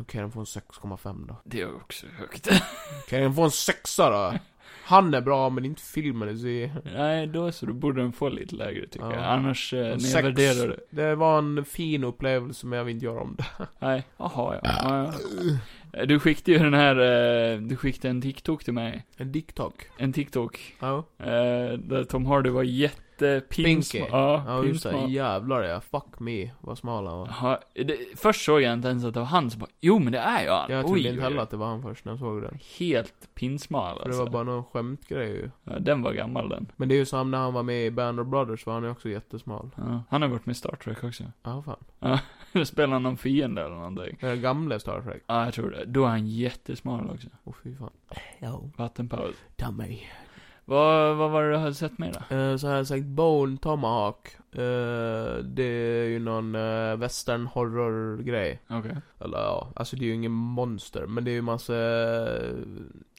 okej den får en 6,5 då.
Det är också högt.
Okej den får en 6 då! Han är bra men inte filmen i
Eh,
sig.
Nej, då så. Då borde den få lite lägre tycker
Ja.
jag. Annars eh,
En
nedvärderar du.
Det var en fin upplevelse men jag vill inte göra om det.
Nej. Jaha, ja. ja, ja. Du skickade ju den här, eh, du skickade en TikTok till mig.
En TikTok.
En TikTok.
Ja.
Eh, där Tom Hardy var jättepinsmal.
Pinky.
Ja,
Ja just det,
pinsmal.
jävlar ja. Fuck me, vad smal han var.
Jaha, det, först såg jag inte ens att det var han som bara, jo men det är ju han.
Jag
Oj,
trodde inte
oj,
heller
oj.
att det var han först när jag såg den.
Helt pinsmal
För det
alltså.
var bara någon skämtgrej ju.
ja, den var gammal den.
Men det är ju som när han var med i Band of Brothers var han ju också jättesmal.
Ja, han har varit med i Star Trek också.
Ja, fan.
Spelar han någon fiende eller någonting?
Den gamle Star Trek.
Ja, jag tror det. Då är han jättesmal också.
Åh fy fan. Ja,
Vattenpaus.
ta mig.
Vad, vad var det du hade sett med då?
Eh, så har jag sagt Bone Tomahawk. Eh, det är ju någon eh, western horror grej.
Okej.
Eller ja, alltså det är ju ingen monster, men det är ju massa...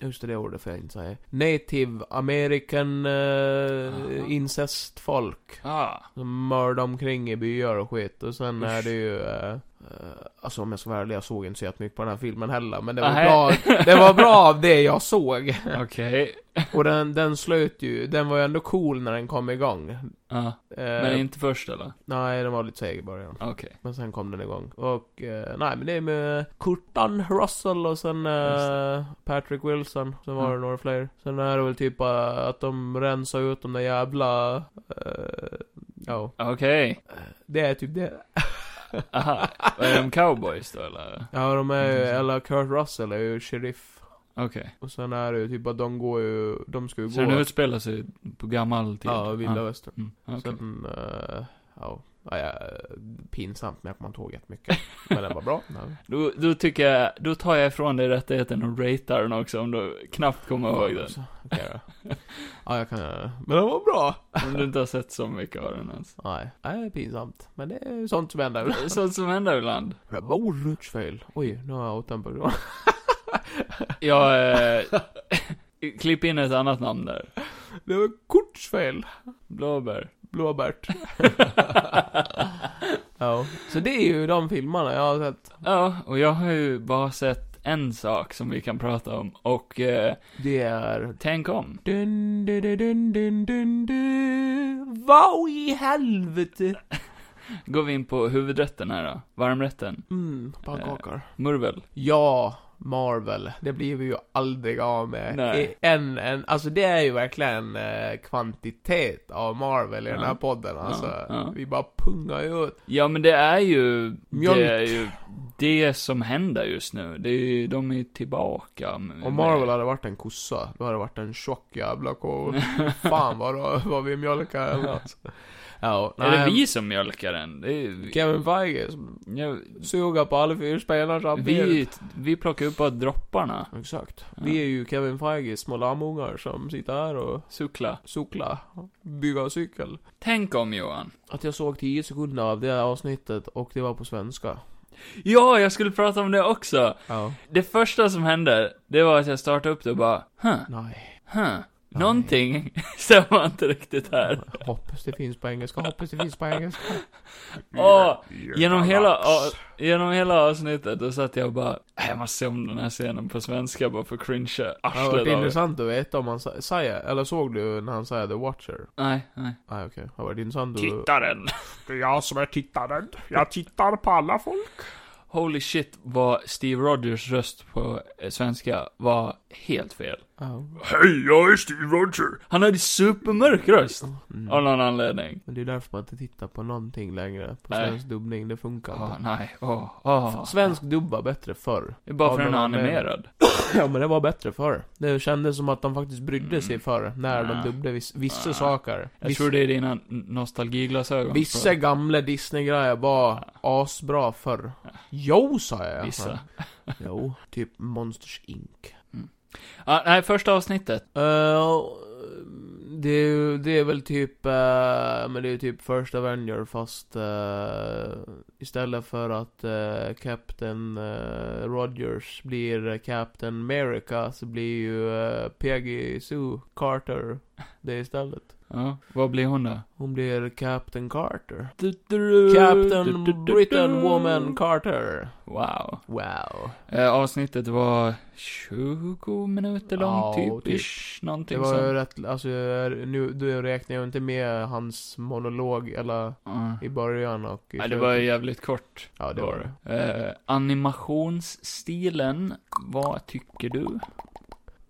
Just det, det ordet får jag inte säga. Native American
Aha.
uh, incestfolk.
Ah.
Som mördar omkring i byar och skit. Och sen är
Usch.
det ju... eh, eh, alltså om jag ska vara ärlig, jag såg inte så jättemycket på den här filmen heller. Men det var,
Nej.
bra, det var bra av det jag såg.
Okej.
Och den, den slöt ju... Den var ju ändå cool när den kom igång.
Ja. Men
Eh,
inte först eller?
nej, den var lite seg i början.
Okej.
Men sen kom den igång. Och eh, nej, men det är med Kurtan Russell och sen
Just
eh, Patrick Wilson. Sen var det
Mm.
några fler. Sen är det väl typ eh, att de rensar ut de där jävla... eh, ja,
Okej.
det är typ det.
Aha. Är de cowboys då eller?
Ja, de är ju,
Intressant.
eller Kurt Russell är ju sheriff.
Okej.
Och sen är det ju typ att de går ju, de ska ju
Så
gå...
den utspelar sig på gammal tid?
ja, vilda västern.
Mm. Okej.
Sen, eh, ja, ja, ja, pinsamt men jag kommer inte ihåg jättemycket. men den var bra. Ja.
Då, då tycker jag, då tar jag ifrån dig rättigheten och ratear den också om du knappt kommer ihåg den.
Så, Okej då. Ja, jag kan göra det. Men den var bra!
Om du inte har sett så mycket av den ens.
Nej, nej, det är pinsamt. Men det är ju sånt som händer.
Det är Sånt som händer ibland.
Oh, rutschfel. Oj, nu har jag åt en person.
Jag, eh, klipp in ett annat namn där.
Det var kortsfel.
Blåbär.
Blåbärt. ja. Så det är ju de filmerna jag har sett.
Ja, och jag har ju bara sett en sak som vi kan prata om och eh,
Det är
tänk om.
Dun, dun, dun, dun, dun, dun, dun. Vad i helvete?
Går vi in på huvudrätten här då. Varmrätten.
Mm, pannkakor.
Murvel.
Ja, Marvel. Det blir vi ju aldrig av med.
Nej.
I En, en, alltså det är ju verkligen eh, kvantitet av Marvel i den här
Ja.
podden. Alltså,
ja.
vi bara pungar ju ut.
Ja men det är ju,
Mjölk.
det är ju det som händer just nu. Det är ju, de är ju tillbaka. med-
Om Marvel hade varit en kossa, då hade det varit en tjock jävla ko. Fan vad, då, vad vi mjölkar eller något. Ja,
Är det
nej.
vi som mjölkar den? Det är ju,
Kevin Feige
ja,
suger på alla fyra spelare samtidigt.
vi, vi plockar upp bara dropparna.
Exakt.
Ja.
Vi är ju Kevin Feiges små lammungar som sitter här och
Suckla.
cyklar, bygger cykel.
Tänk om Johan.
Att jag såg 10 sekunder av det här avsnittet och det var på svenska.
Ja, jag skulle prata om det också.
Ja.
Det första som hände, det var att jag startade upp det och bara, huh,
Nej.
huh. Någonting stämmer inte riktigt här.
Hoppas det finns på engelska, hoppas det finns på engelska.
Och genom hela, a- genom hela avsnittet då satt jag och bara, "Äh, jag måste se om den här scenen på svenska bara för att cringea
Det hade varit
arslet av det.
intressant att veta om han sa- säger, eller såg du när han säger The Watcher?
Nej, nej.
Nej okej, det hade varit intressant att...
Tittaren.
Det är jag som är tittaren. Jag tittar på alla folk.
holy shit vad Steve Rogers röst på eh, svenska var helt fel.
Ja.
Hej, jag är Steve Rogers. Han hade supermörk röst.
Mm.
Av någon anledning.
Men det är därför man inte tittar på någonting längre. På
Nej.
svensk dubbning, det funkar
Ah,
inte.
nej. Åh, åh.
Svensk dubb var bättre förr.
Det är bara
Ja,
för den är
men-
animerad.
Ja men det var bättre förr. Det kändes som att de faktiskt brydde sig
Mm.
förr, när
Nej.
de dubbde viss, vissa
Nej.
saker.
Jag
Viss-
tror det är dina n- nostalgiglasögon.
Vissa gamla Disney-grejer var asbra förr. Jo, sa jag.
Vissa.
Jo, typ Monsters Inc.
Ah, nej, första avsnittet.
Eh, det, är ju- det är väl typ, eh, men det är ju typ First Avenger fast eh, istället för att eh, Captain eh, Rogers blir Captain America så blir ju eh, Peggy Sue Carter det istället.
Ja, vad blir hon då?
Hon blir Captain Carter. Captain Britain Woman Carter.
Wow.
Wow.
Eh, avsnittet var 20 minuter långt,
Ja,
typ.
typ.
Ish,
Det
någonting
var ju
sånt.
rätt, alltså nu, nu räknar jag inte med hans monolog eller
Ja.
i början och i
Nej, det
slutet.
var ju jävligt kort.
Ja, det var det.
Eh, animationsstilen, vad tycker du?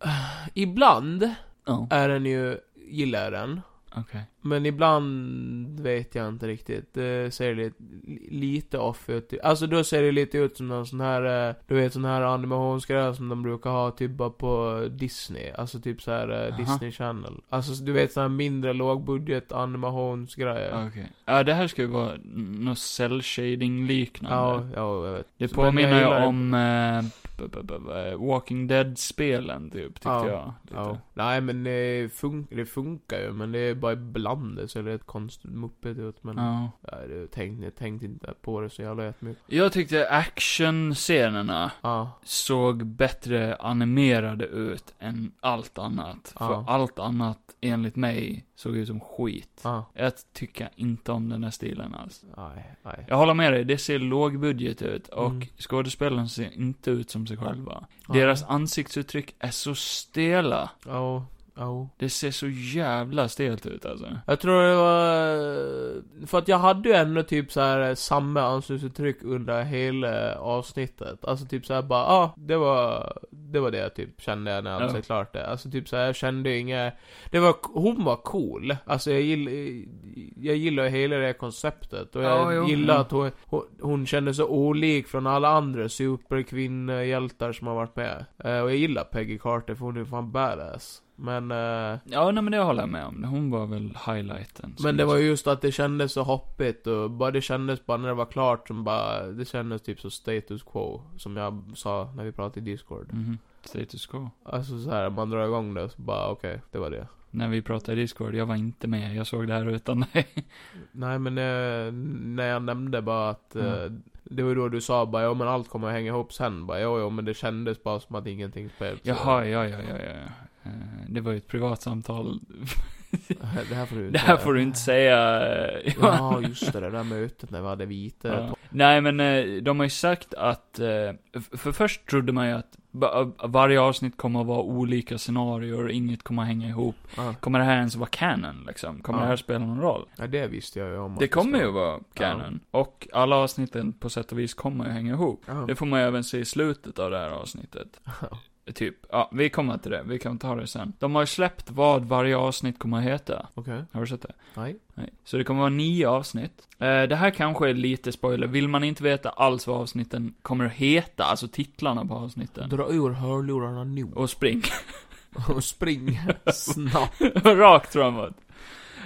Eh,
Ibland
Ja,
är den ju, gillar jag den.
okej.
Men ibland vet jag inte riktigt. Det ser lite, lite off ut. Alltså då ser det lite ut som någon sån här, eh, du vet sån här animationsgrej som de brukar ha typ bara på Disney. Alltså typ så här eh,
Aha.
Disney Channel. Alltså du vet sån här mindre lågbudget animationsgrejer.
Okej. Ja, det här ska ju vara något cell shading liknande.
Ja, ja, jag vet.
Det
Men
påminner
jag
ju
gillar det.
om eh, b- b- b- b- Walking Dead-spelen, typ, tyckte
Ja.
jag. Lite.
Ja. Nej men det, fun- det funkar ju, men det är bara ibland det ser rätt konstigt muppigt ut. Men
Ja.
ja, det, jag, tänkte, jag tänkte inte på det så jävla jättemycket.
Jag tyckte actionscenerna
Ja.
såg bättre animerade ut än allt annat.
Ja.
För allt annat, enligt mig, såg ut som skit.
Ah.
Jag tycker inte om den här stilen alls.
Nej, nej.
Jag håller med dig, det ser lågbudget ut och
Mm.
skådespelarna ser inte ut som sig själva. Deras ansiktsuttryck är så stela.
Ja, ja.
Det ser så jävla stelt ut alltså.
Jag tror det var... För att jag hade ju ändå typ så här samma ansiktsuttryck under hela avsnittet. Alltså typ så här bara, ja, ah, det var... Det var det jag typ kände när jag
Ja.
hade sett klart det. Alltså typ så här, jag kände inga... Det var, hon var cool. Alltså jag gillar... Jag gillar hela det här konceptet. Och jag
Ja, jo.
gillar
Mm.
att hon, hon, hon kände sig olik från alla andra superkvinnhjältar som har varit med. Eh, och jag gillar Peggy Carter för hon är fan badass. Men... eh,
Ja, nej men det håller jag med om. Hon var väl highlighten.
men det var ju just att det kändes så hoppigt och bara det kändes bara när det var klart som bara, det kändes typ så status quo. Som jag sa när vi pratade i Discord.
Mhm. Status quo.
Alltså så här, man drar igång det så bara okej, det var det.
När vi pratade i Discord, jag var inte med. Jag såg det här utan dig.
Nej men eh, när jag nämnde bara att, eh,
Mm.
det var då du sa bara ja men allt kommer att hänga ihop sen bara jo, jo men det kändes bara som att ingenting spelade.
Jaha, ja, ja, ja, ja. Eh, Det var ju ett privat samtal.
det här får du inte
Det här får du inte säga. eh, Johan.
Ja just det, det där mötet när vi hade vite.
Ja. Nej, men eh, de har ju sagt att... eh, f- För först trodde man ju att ba- varje avsnitt kommer att vara olika scenarier och inget kommer att hänga ihop.
Ja.
Kommer det här ens vara canon, liksom? Kommer
Ja.
det här spela någon roll?
Ja det visste jag ju om. att
Det kommer
skulle-
ju vara canon. Och alla avsnitten på sätt och vis kommer ju hänga ihop.
Ja.
Det får man ju även se i slutet av det här avsnittet. Typ, ja, vi kommer till det, vi kan ta det sen. De har ju släppt vad varje avsnitt kommer att heta.
Okej,
Har du sett det?
nej.
Nej. Så det kommer vara nio avsnitt. Eh, det här kanske är lite spoiler, vill man inte veta alls vad avsnitten kommer att heta, alltså titlarna på avsnitten.
Dra ur hörlurarna nu.
Och spring.
Och spring snabbt.
Rakt framåt.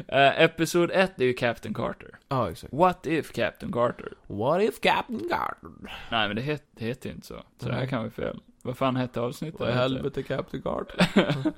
Eh, Episod 1 är ju Captain Carter.
Ja, exakt.
What if Captain Carter?
What if Captain Garden?
Nej men det het, det heter ju inte så. Så det här
Nej.
kan vara fel. Vad fan hette avsnittet?
Vad i helvete Captain Garden?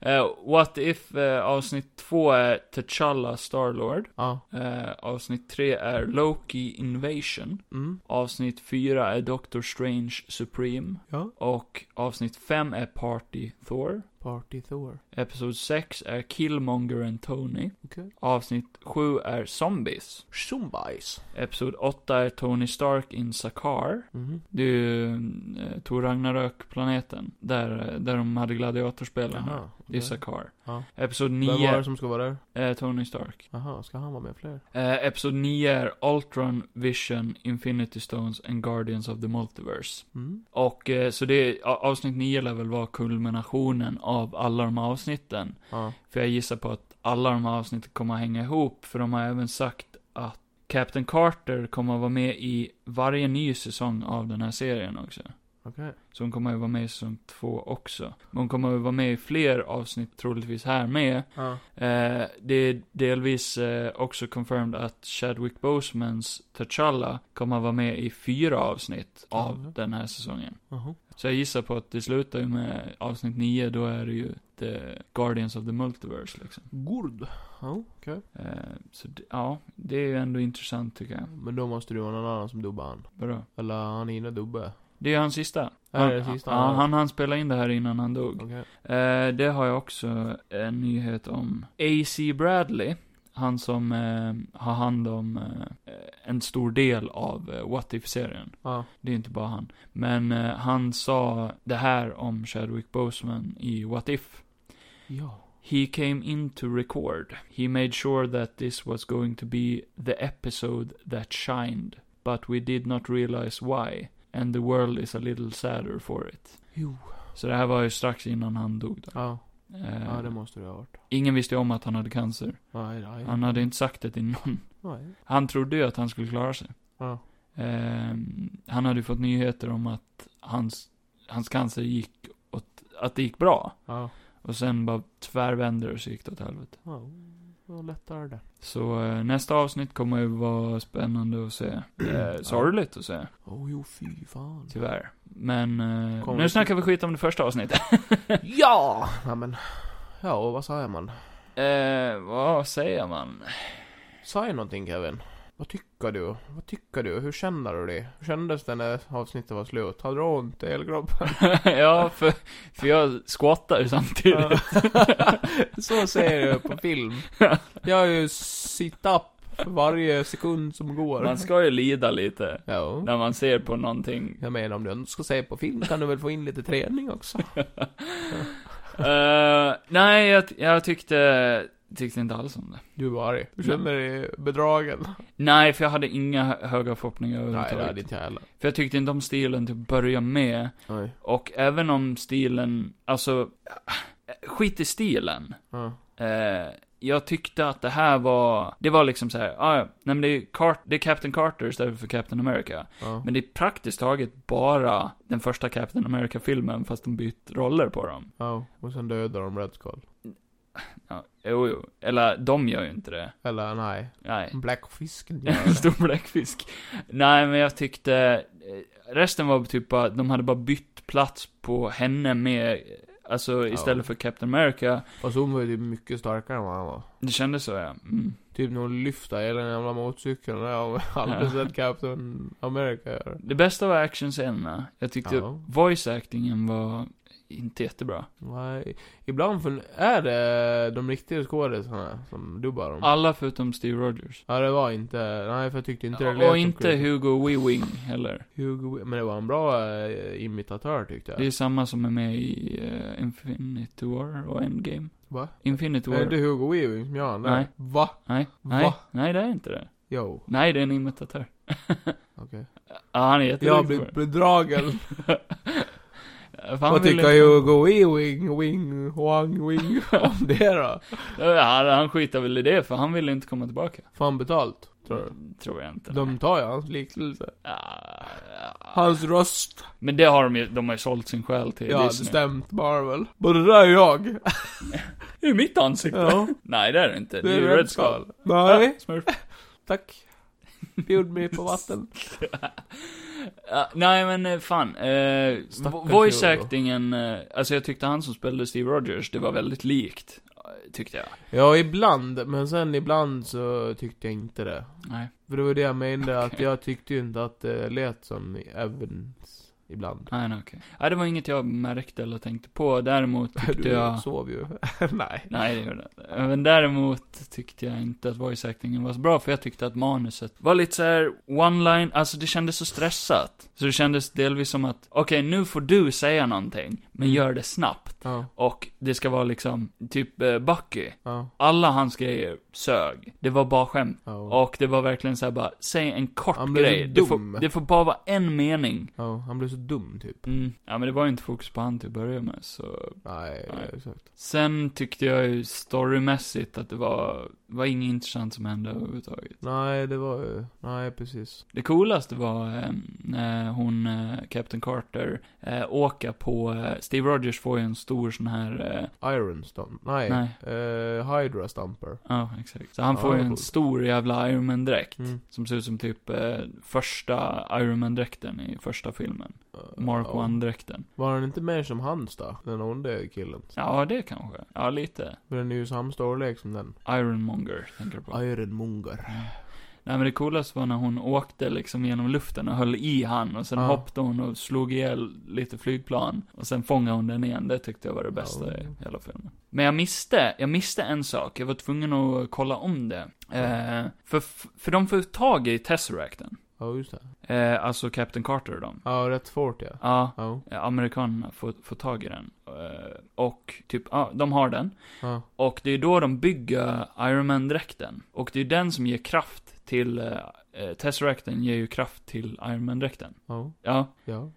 Eh, What If eh, avsnitt två är T'Challa Starlord.
Ja.
Eh, avsnitt tre är Loki Invasion.
Mm.
Avsnitt fyra är Doctor Strange Supreme.
Ja.
Och avsnitt fem är Party Thor.
Party Thor.
Episod sex är Killmonger and Tony.
Okej.
Avsnitt sju är Zombies.
Zombies.
Episod åtta är Tony Stark in Sakaar.
Mhm.
Det är ju eh, Tor Ragnarök-planeten. Där, eh, där de hade gladiatorspelarna.
Jaha,
Det är
okej.
Sakaar.
Ja.
Episod
Vem var
9,
det som ska vara där?
eh, Tony Stark.
Jaha, ska han vara med fler?
Eh, Episod 9 är Ultron, Vision, Infinity Stones and Guardians of the Multiverse.
Mm.
Och eh, så det, a- avsnitt 9 lär väl vara kulminationen av alla de här avsnitten.
Ja.
För jag gissar på att alla de här avsnitten kommer att hänga ihop, för de har även sagt att Captain Carter kommer att vara med i varje ny säsong av den här serien också.
Okej.
Så hon kommer att vara med i säsong två också. Men hon kommer att vara med i fler avsnitt troligtvis här med.
Ja.
Eh, det är delvis eh, också confirmed att Chadwick Bosemans T'Challa kommer att vara med i fyra avsnitt av
Ja.
den här säsongen.
Jaha.
Så jag gissar på att det slutar ju med avsnitt 9, då är det ju The Guardians of the Multiverse liksom.
Gurd. Ja, okej.
Eh, så det, ja, det är ju ändå intressant tycker jag.
Men då måste du ha någon annan som dubbar han.
Vadå?
Eller han hinner dubba.
Det är ju hans sista.
Är det sista
han,
han
ja,
har?
han, han spelade in det här innan han dog.
Okej.
Eh, det har jag också en nyhet om. AC Bradley, han som eh, har hand om eh, en stor del av eh, What If-serien.
Ja.
Det är inte bara han. Men eh, han sa det här om Chadwick Boseman i What If.
Ja.
He came in to record. He made sure that this was going to be the episode that shined. But we did not realize why. And the world is a little sadder for it.
Jo.
Så det här var ju strax innan han dog då.
Ja.
Eh,
Ja, det måste du ha hört.
Ingen visste ju om att han hade cancer.
Nej, nej.
Han hade inte sagt det till någon.
Nej.
Han trodde ju att han skulle klara sig.
Ja.
Ehm, han hade ju fått nyheter om att hans, hans cancer gick åt, att det gick bra.
Ja.
Och sen bara tvärvände det och så gick det åt helvete.
Ja. Vad lättare det.
Så eh, nästa avsnitt kommer ju vara spännande att se. Eh, sorgligt att se,
Åh, oh, jo, fy fan.
tyvärr. Men eh,
Kommer
nu
vi-
snackar vi skit om det första avsnittet.
Ja! Ja, men. Ja, och vad säger man?
eh, vad säger man?
Säg någonting Kevin. Vad tycker du? Vad tycker du? Hur känner du det? Hur kändes det när avsnittet var slut? Hade du ont i hela kroppen?
ja, för, för jag squattar ju samtidigt.
Så ser jag på film. Jag har ju sit-up för varje sekund som går.
Man ska ju lida lite
Ja.
när man ser på någonting.
Jag menar om du ska se på film kan du väl få in lite träning också?
Eh, nej, jag, jag tyckte, tyckte inte alls om det.
Du var arg. Du känner dig bedragen.
Nej, för jag hade inga hö- höga förhoppningar
Nej, det
överhuvudtaget.
hade inte jag heller.
För jag tyckte inte om stilen till att börja med.
Nej.
Och även om stilen, alltså, eh, skit i stilen.
Ja.
Eh, jag tyckte att det här var, det var liksom så här, ah, ja, nej men det är, Car- det är Captain Carter istället för Captain America.
Ja.
Men det är praktiskt taget bara den första Captain America-filmen fast de bytt roller på dem.
ja. Och sen dödar de Red Skull.
Ja, jo, jo. Eller, de gör ju inte det.
Eller nej.
Nej.
Blackfisken gör
En
det.
stor bläckfisk. Nej, men jag tyckte... eh, Resten var typ bara, de hade bara bytt plats på henne med, eh, alltså
Ja.
istället för Captain America.
Och så hon var ju typ mycket starkare än vad han var.
Det kändes så, ja. Mm.
Typ när hon lyfter hela den jävla motorcykeln. Jag har aldrig sett Captain America göra det.
Det bästa var actionscenerna. Jag tyckte
Ja. Mm.
voice-actingen var inte jättebra.
Nej. Ibland fun- är det de riktiga skådisarna som dubbar dem.
Alla förutom Steve Rogers.
Ja, det var inte... Nej, för jag tyckte inte det lät som
Och inte
Chris-
Hugo Weaving heller.
Hugo... Men det var en bra eh, imitatör tyckte jag.
Det är samma som är med i eh, Infinity War och Endgame.
Va?
Infinity
Är
War.
det inte Hugo Weaving som gör han där?
Nej.
Va?
Nej, nej,
Va?
nej det är inte det.
Jo.
Nej, det är en imitatör.
Okej.
Ja, han är jätteduktig
Jag
på det.
blir bedragen.
Fan,
Vad
vill
tycker
inte-
Hugo Weaving, Wing, Wang, Wing om det då?
Ja, Han, han skiter väl i det, för han vill inte komma tillbaka.
Får han betalt? Tror du?
Tror jag inte.
De tar ju hans liknelse.
Ja, ja.
Hans röst.
Men det har de ju, de har ju sålt sin själ till
Ja, det
Disney.
stämt Marvel. Både det där är jag.
Det är mitt ansikte.
Ja,
Nej, det är det inte. Det är ju Red Skull.
Nej,
Ja, Smurf.
tack. Bjud mig på vatten.
Ja, nej men eh, fan, eh,
Stackars
voice
Hugo.
actingen, eh, alltså jag tyckte han som spelade Steve Rogers, det var väldigt likt. eh, Tyckte jag.
Ja, ibland. Men sen ibland så tyckte jag inte det.
Nej.
För det var det jag menade, att
Okej.
jag tyckte ju inte att det lät som Evans ibland.
Nej, nej okej. Nej, det var inget jag märkte eller tänkte på, däremot tyckte
Du
jag...
sov ju. Nej.
Nej, det gjorde jag inte. Men däremot tyckte jag inte att voice actingen var så bra, för jag tyckte att manuset var lite så här one line, alltså det kändes så
Mm.
stressat. Så det kändes delvis som att, okej, nu får du säga någonting, men gör det snabbt.
Ja,
Och det ska vara liksom, typ eh, Bucky.
ja,
Alla hans grejer sög. Det var bara skämt.
ja.
Och det var verkligen såhär bara, säg en kort
Han blev
grej.
så
Det får,
dum.
det får bara vara en mening.
Ja, han blev så dum typ.
Mm. Ja men det var ju inte fokus på han till att börja med, så.
Nej,
Nej.
exakt.
Sen tyckte jag ju storymässigt att det var, var inget intressant som hände överhuvudtaget.
Nej, det var ju... Nej, precis.
Det coolaste var eh, när hon, eh, Captain Carter, eh, åker på, eh, Steve Rogers får ju en stor sån här, eh,
Iron Stomp. Nej.
Nej.
Eh, Hydra Stamper.
ja exakt. Så han
Ja,
får ju
det
en
var coolt.
stor jävla Iron Man-dräkt.
Mm.
Som ser ut som typ eh, första Iron Man-dräkten i första filmen. Mark
Ja.
1-dräkten.
Var han inte mer som hans då? Den onde killen.
Ja, det kanske. Ja, lite.
För den är ju samma storlek som den.
Ironmonger, tänker jag på.
Ironmonger.
Nej men det coolaste var när hon åkte liksom genom luften och höll i han och sen
Ja.
hoppade hon och slog ihjäl lite flygplan. Och sen fångade hon den igen, det tyckte jag var det bästa i hela filmen. Men jag misste, jag misste en sak, jag var tvungen att kolla om det. Eh, för, för de får tag i Tesseracten.
Ja, just det.
Eh, alltså Captain Carter och dem.
Ja, rätt fort ja.
Ja,
Ja.
amerikanerna får, får tag i den. Eh, och typ, ja, de har den.
Ja.
Och det är då de bygger Iron Man-dräkten. Och det är den som ger kraft till, eh, eh, Tesseracten ger ju kraft till Iron Man-dräkten.
Ja.
Ja,
Ja.
ja.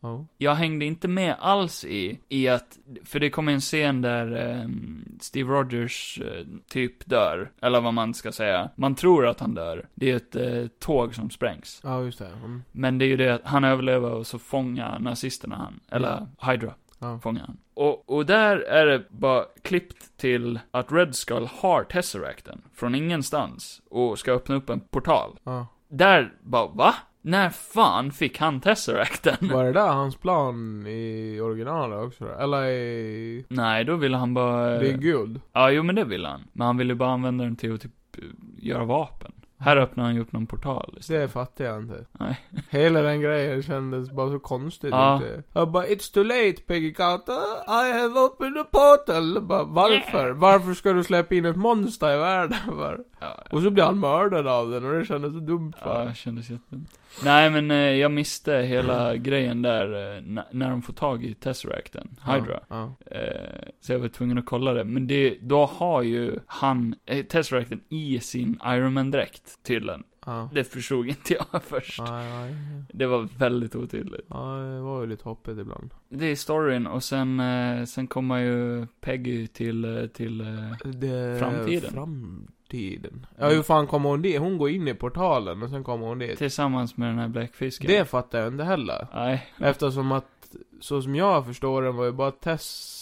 Ja.
Jag hängde inte med alls i, i att, för det kommer en scen där ehm, Steve Rogers eh, typ dör, eller vad man ska säga. Man tror att han dör. Det är ett eh, tåg som sprängs.
Ja, just det. Mm.
Men det är ju det att han överlever och så fångar nazisterna han, eller Hydra
Ja.
fångar han. Och, och där är det bara klippt till att Red Skull har Tesseracten från ingenstans och ska öppna upp en portal.
ja.
Där bara, va? När fan fick han Tesseracten?
Var det där hans plan i originalet också då? Eller i...
Nej, då ville han bara...
Det är guld.
Ja, jo men det ville han. Men han ville bara använda den till att typ eh, göra vapen. Här öppnar han ju upp någon portal istället.
Det fattar jag inte.
Nej.
Hela den grejen kändes bara så konstigt.
Ja.
Inte. Jag bara, it's too late Peggy Carter, I have opened a portal. Jag Bara, varför? Varför ska du släppa in ett monster i världen? För?
Ja,
Och så blir han mördad av den och det kändes så dumt
Ja,
för.
det kändes jättedumt. Nej, men eh, jag misste hela grejen där eh, na- när de får tag i Tesseracten, Hydra.
Ja.
Eh, så jag var tvungen att kolla det. Men det, då har ju han eh, Tesseracten i sin Iron Man-dräkt, tydligen.
Ja.
Det förstod inte jag först.
Nej, nej.
Det var väldigt otydligt.
Ja, det var ju lite hoppigt ibland.
Det är storyn och sen, eh, sen kommer ju Peggy till, eh, till eh,
Det...
Framtiden.
Framtiden. Ja, hur fan kommer hon dit? Hon går in i portalen och sen kommer hon dit.
tillsammans med den här bläckfisken.
Det fattar jag inte heller.
Nej,
Eftersom att, så som jag förstår den var ju bara Tess...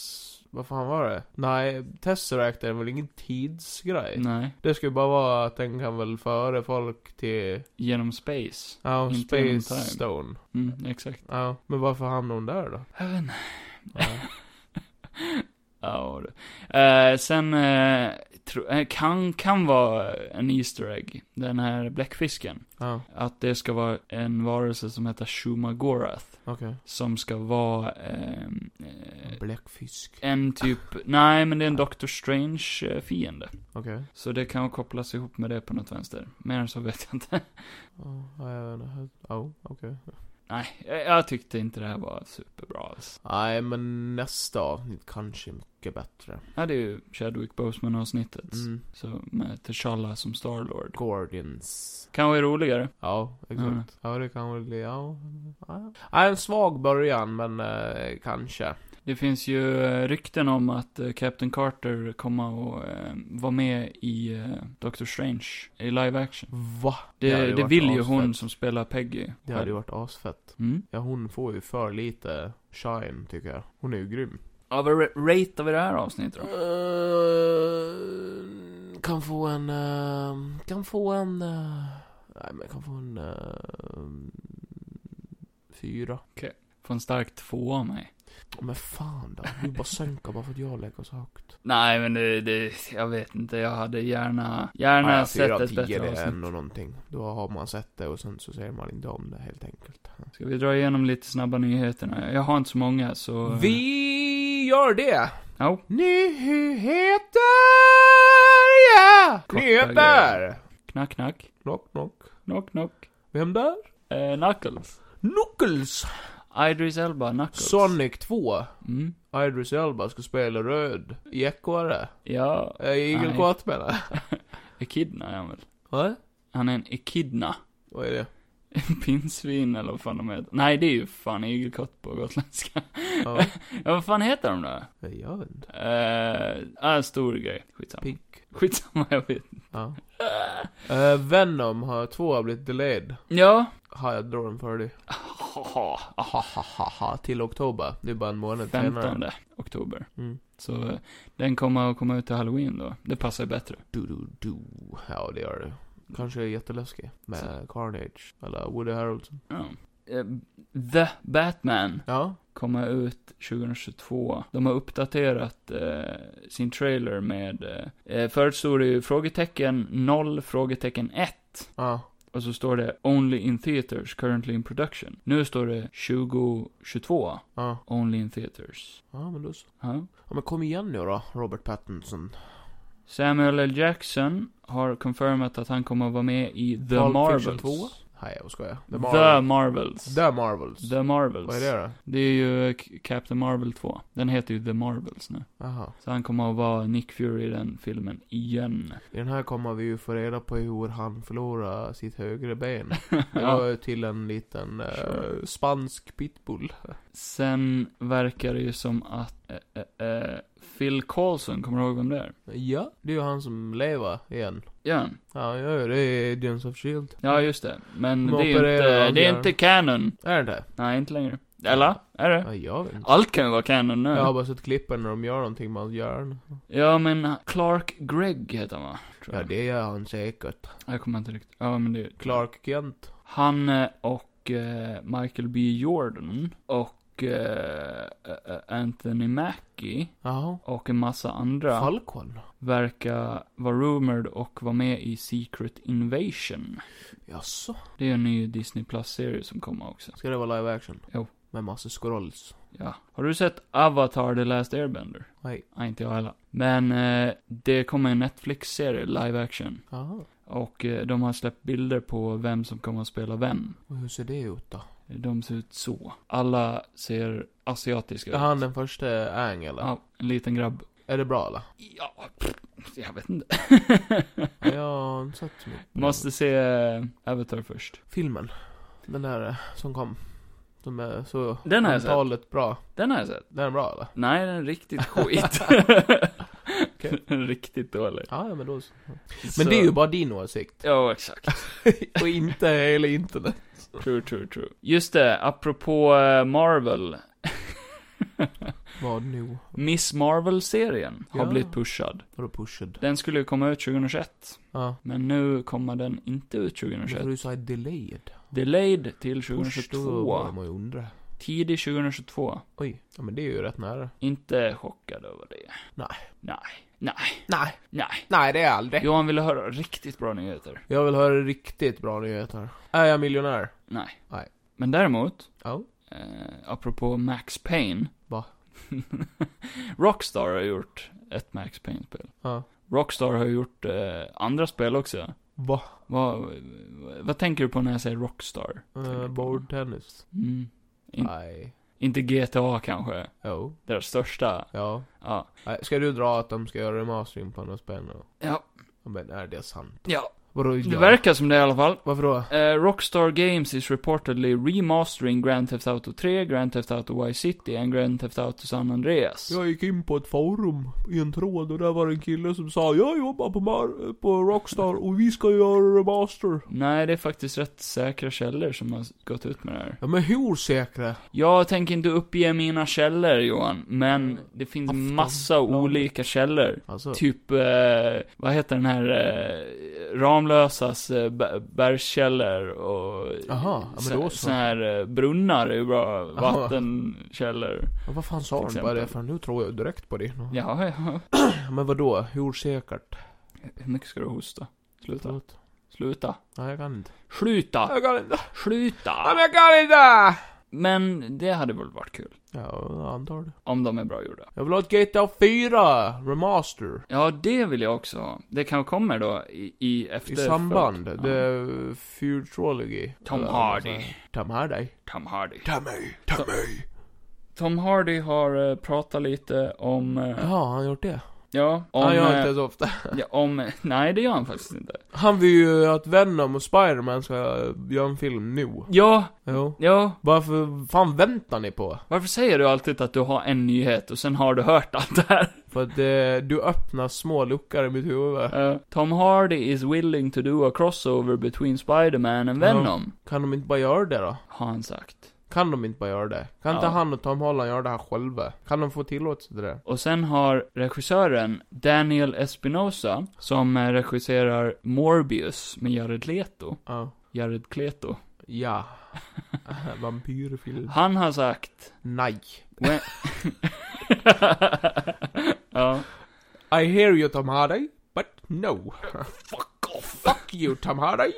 Vad fan var det? Nej, Tesseract är väl ingen tidsgrej?
nej.
Det ska ju bara vara att den kan väl föra folk till,
Genom space.
ja,
Inte genom
Space
time.
Stone.
Mm, exakt.
Ja, men varför hamnade hon där då?
Jag vet inte.
Ja.
Ja, det. Eh, sen, eh, tro, eh, kan, kan vara en Easter egg, den här bläckfisken.
ja,
Att det ska vara en varelse som heter Shumagorath.
okej.
Som ska vara, ehm, eh,
Bläckfisk.
en typ, nej men det är en Doctor Strange-fiende.
Okej.
Så det kan kopplas ihop med det på något vänster. Mer än så vet jag inte.
Ja, jag vet inte. Ja, okej.
Nej, jag, jag tyckte inte det här var superbra alls.
Nej, men nästa avsnitt kanske mycket bättre.
Ja, det är ju Chadwick Boseman-avsnittet.
Mm.
Så, med T'Challa som Starlord.
Guardians.
Kanske roligare.
Ja, exakt.
Mm.
Ja, det kan väl bli, ja. ja. Ja, en svag början, men eh, kanske.
Det finns ju eh, rykten om att eh, Captain Carter kommer att eh, vara med i eh, Doctor Strange i live action.
Va?
Det,
hade ju
det,
varit
vill ju
asfett.
hon som spelar Peggy.
Det hade ju varit asfett.
Mm.
Ja, hon får ju för lite shine, tycker jag. Hon är ju grym.
Ja, vad ra- ratear vi det här avsnittet då?
Eh, kan få en... eh, kan få en... eh, nej, men kan få en... eh, fyra.
Får en stark två av mig.
Men fan då, du bara sänker bara för att jag lägger så högt.
Nej, men det, det, jag vet inte. Jag hade gärna, gärna
Ja,
sett ett
det
bättre
är
avsnitt.
ändå någonting. Då har man sett det och sen så säger man inte om det helt enkelt.
Ska vi dra igenom lite snabba nyheterna? Jag har inte så många, så...
Vi gör det!
Ja.
Nyheter! Ja!
Korta
Nyheter!
Knack, knack.
Knock, knock.
Knock, knock.
Vem där?
Eh, knuckles.
Knuckles!
Idris Elba, Knuckles.
Sonic 2.
Mm.
Idris Elba ska spela röd ekorre.
Ja,
Äh, Igelkott menar jag.
Echidna är han väl?
Va?
Han är en Echidna.
Vad är det?
En pinnsvin eller vad fan de heter. Nej, det är ju fan igelkott på gotländska.
Ja.
Ja, vad fan heter de då?
Jag vet inte.
Eh, en stor grej. Skitsamma.
Pink.
Skitsamma, jag vet.
Ja. Eh, Venom har två har blivit delayed.
Ja.
Ha, jag drar den för dig.
Haha.
Ha, ha, ha, ha. Till oktober. Det är bara en månad senare.
15 oktober.
Mm.
Så eh, den kommer att komma ut till halloween då. Det passar ju bättre.
Du, du, du. Ja, det gör det. Kanske är jätteläskig. Med Carnage. Eller Woody Harrelson.
Ja. Eh, The Batman
Ja.
kommer ut 2022. De har uppdaterat eh, sin trailer med, eh, eh, förut stod det ju frågetecken 0, frågetecken 1.
Ja.
Och så står det Only in theaters, currently in production. Nu står det 2022,
Ja.
Only in theaters.
Ja, men då så.
Ja.
Ja, men kom igen nu då, Robert Pattinson.
Samuel L. Jackson har confirmat att han kommer att vara med i The
Pulp Fiction
Marvels.
2? Nej, jag skojar.
The,
Marvel-
Marvels.
The Marvels.
The Marvels.
Vad är det då?
Det är ju eh, K- Captain Marvel 2. Den heter ju The Marvels nu.
Jaha.
Så han kommer att vara Nick Fury i den filmen igen.
I den här kommer vi ju få reda på hur han förlorar sitt högra ben. Det
Ja.
var ju till en liten eh,
Sure.
spansk pitbull.
Sen verkar det ju som att eh, eh, eh, Phil Carlson, kommer du ihåg vem det är?
Ja, det är ju han som lever igen.
Ja,
Ja, han gör ju det i E Dance of Shield.
ja just det. Men
De
det är ju
opererar
inte,
dem
det är
där.
inte canon.
Är det det?
Nej, inte längre. Eller? Är det?
Ja, jag vet inte.
Allt kan ju vara canon nu.
Jag har bara sett klippen när de gör någonting med hans hjärna.
Ja, men Clark Gregg heter han va? Tror
Ja,
jag.
det gör han säkert.
Jag kommer inte riktigt. Ja, men det är
Clark Kent.
Han eh, och eh, Michael B Jordan och eh, eh, Anthony Mackie
Jaha.
och en massa andra
Falcon.
verkar vara rumored och vara med i Secret Invasion.
Jaså?
Det är en ny Disney Plus-serie som kommer också.
Ska det vara live action?
Jo.
Med massa scrolls.
Ja. Har du sett Avatar The Last Airbender?
Nej.
Nej, inte jag heller. Men eh, det kommer en Netflix-serie, live action.
Jaha.
Och eh, de har släppt bilder på vem som kommer att spela vem.
Och hur ser det ut då?
De ser ut så. Alla ser asiatiska
Är
ut.
han den första Ang eller?
Ja, en liten grabb.
Är det bra eller?
Ja, pff, jag vet inte.
Ja, Jag har inte sett så mycket. på den.
Måste se eh, Avatar först.
Filmen. Den där eh, som kom. Som är så...
Den har jag
Talet bra.
Den har jag sett.
Den är bra eller?
Nej, den är riktigt skit. Den är riktigt dålig.
Ja, ja, men då så. Men
Så-
det är ju bara din åsikt.
Ja, exakt.
Och inte hela internet.
True, true, true. Just det, apropå eh, Marvel.
Vad nu?
Miss Marvel-serien har
Ja.
blivit pushad.
Vadå pushad?
Den skulle ju komma ut 2021.
Ja.
Men nu kommer den inte ut
Varför
2021.
du sa delayed?
Delayed till
Push, då börjar
2022.
man ju undra.
Tidig 2022.
Oj. Ja, men det är ju rätt nära.
Inte chockad över det.
Nej.
Nej.
Nej.
Nej.
Nej, det är jag aldrig.
Johan ville höra riktigt bra nyheter.
Jag vill höra riktigt bra nyheter. Är jag miljonär?
Nej.
Nej.
Men däremot,
Ja.
eh, apropå Max Payne.
Va?
Rockstar har gjort ett Max Payne-spel.
Ja.
Rockstar har gjort eh, andra spel också.
Va?
Vad, vad tänker du på när jag säger Rockstar? Tänker
Uh,
på-
Bordtennis?
Mm. In-
Nej.
Inte GTA kanske,
Jo.
deras största.
Ja.
Ja.
Nej, Ska du dra att de ska göra remastering på något spel nu?
Ja.
Ja, Men är det sant?
Ja.
Vadå
Det
ja?
verkar som det i alla fall.
Varför då?
Eh, Rockstar Games is reportedly remastering Grand Theft Auto 3, Grand Theft Auto Vice City and Grand Theft Auto San Andreas.
Jag gick in på ett forum i en tråd och där var det en kille som sa Jag jobbar på, Mar- på Rockstar och vi ska göra remaster.
Nej, det är faktiskt rätt säkra källor som har gått ut med det här.
Ja men hur säkra?
Jag tänker inte uppge mina källor, Johan, men det finns
Aftonbladet.
massa olika källor.
Alltså,
Typ, eh, vad heter den här, eh, Ramlösas eh, Ber- bergskällor och...
Jaha, ja, men
så-
då så.
sån här eh, brunnar är ju bra,
Ja.
vattenkällor.
ja, vad fan sa
Till
han bara det?
exempel.
För nu tror jag direkt på det. Ja.
Ja, ja.
Men vadå? Hur säkert?
Hur mycket ska du hosta? Sluta.
Förlåt.
Sluta.
Nej jag kan inte.
Sluta!
Jag kan inte. Nej men
Sluta!
jag kan inte!
Men det hade väl varit kul.
Ja, jag antar det.
Om de är bra gjorda.
Jag vill ha ett GTA 4 Remaster.
Ja, det vill jag också ha. Det kan kommer då i, i efter...
I samband.
Ja.
Det är Futurology.
Tom
Eller vad man
Hardy.
säger. Tom Hardy.
Tom Hardy.
Tommy. Tommy.
Tom Hardy har eh, pratat lite om... eh,
Ja, han har gjort det.
Ja, om...
han gör
eh,
inte så ofta.
ja, om nej, det gör han faktiskt inte.
Han vill ju att Venom och Spiderman ska göra en film nu.
Ja,
Jo.
ja.
Varför fan väntar ni på?
Varför säger du alltid att du har en nyhet och sen har du hört allt det här?
För att eh, du öppnar små luckor i mitt huvud.
Eh, Tom Hardy is willing to do a crossover between Spider-Man and
Ja.
Venom,
Kan de inte bara göra det då?
har han sagt.
Kan de inte bara göra det? Kan inte
Ja.
han och Tom Holland göra det här själva? Kan de få tillåtelse till det?
Och sen har regissören Daniel Espinosa, som eh, regisserar Morbius med Jared Leto,
Ja.
Jared Kleto.
Ja. Vampyrfilm.
Han har sagt...
Nej.
When... ja.
I hear you Tom Hardy, but no.
Fuck off!
Fuck you Tom Hardy.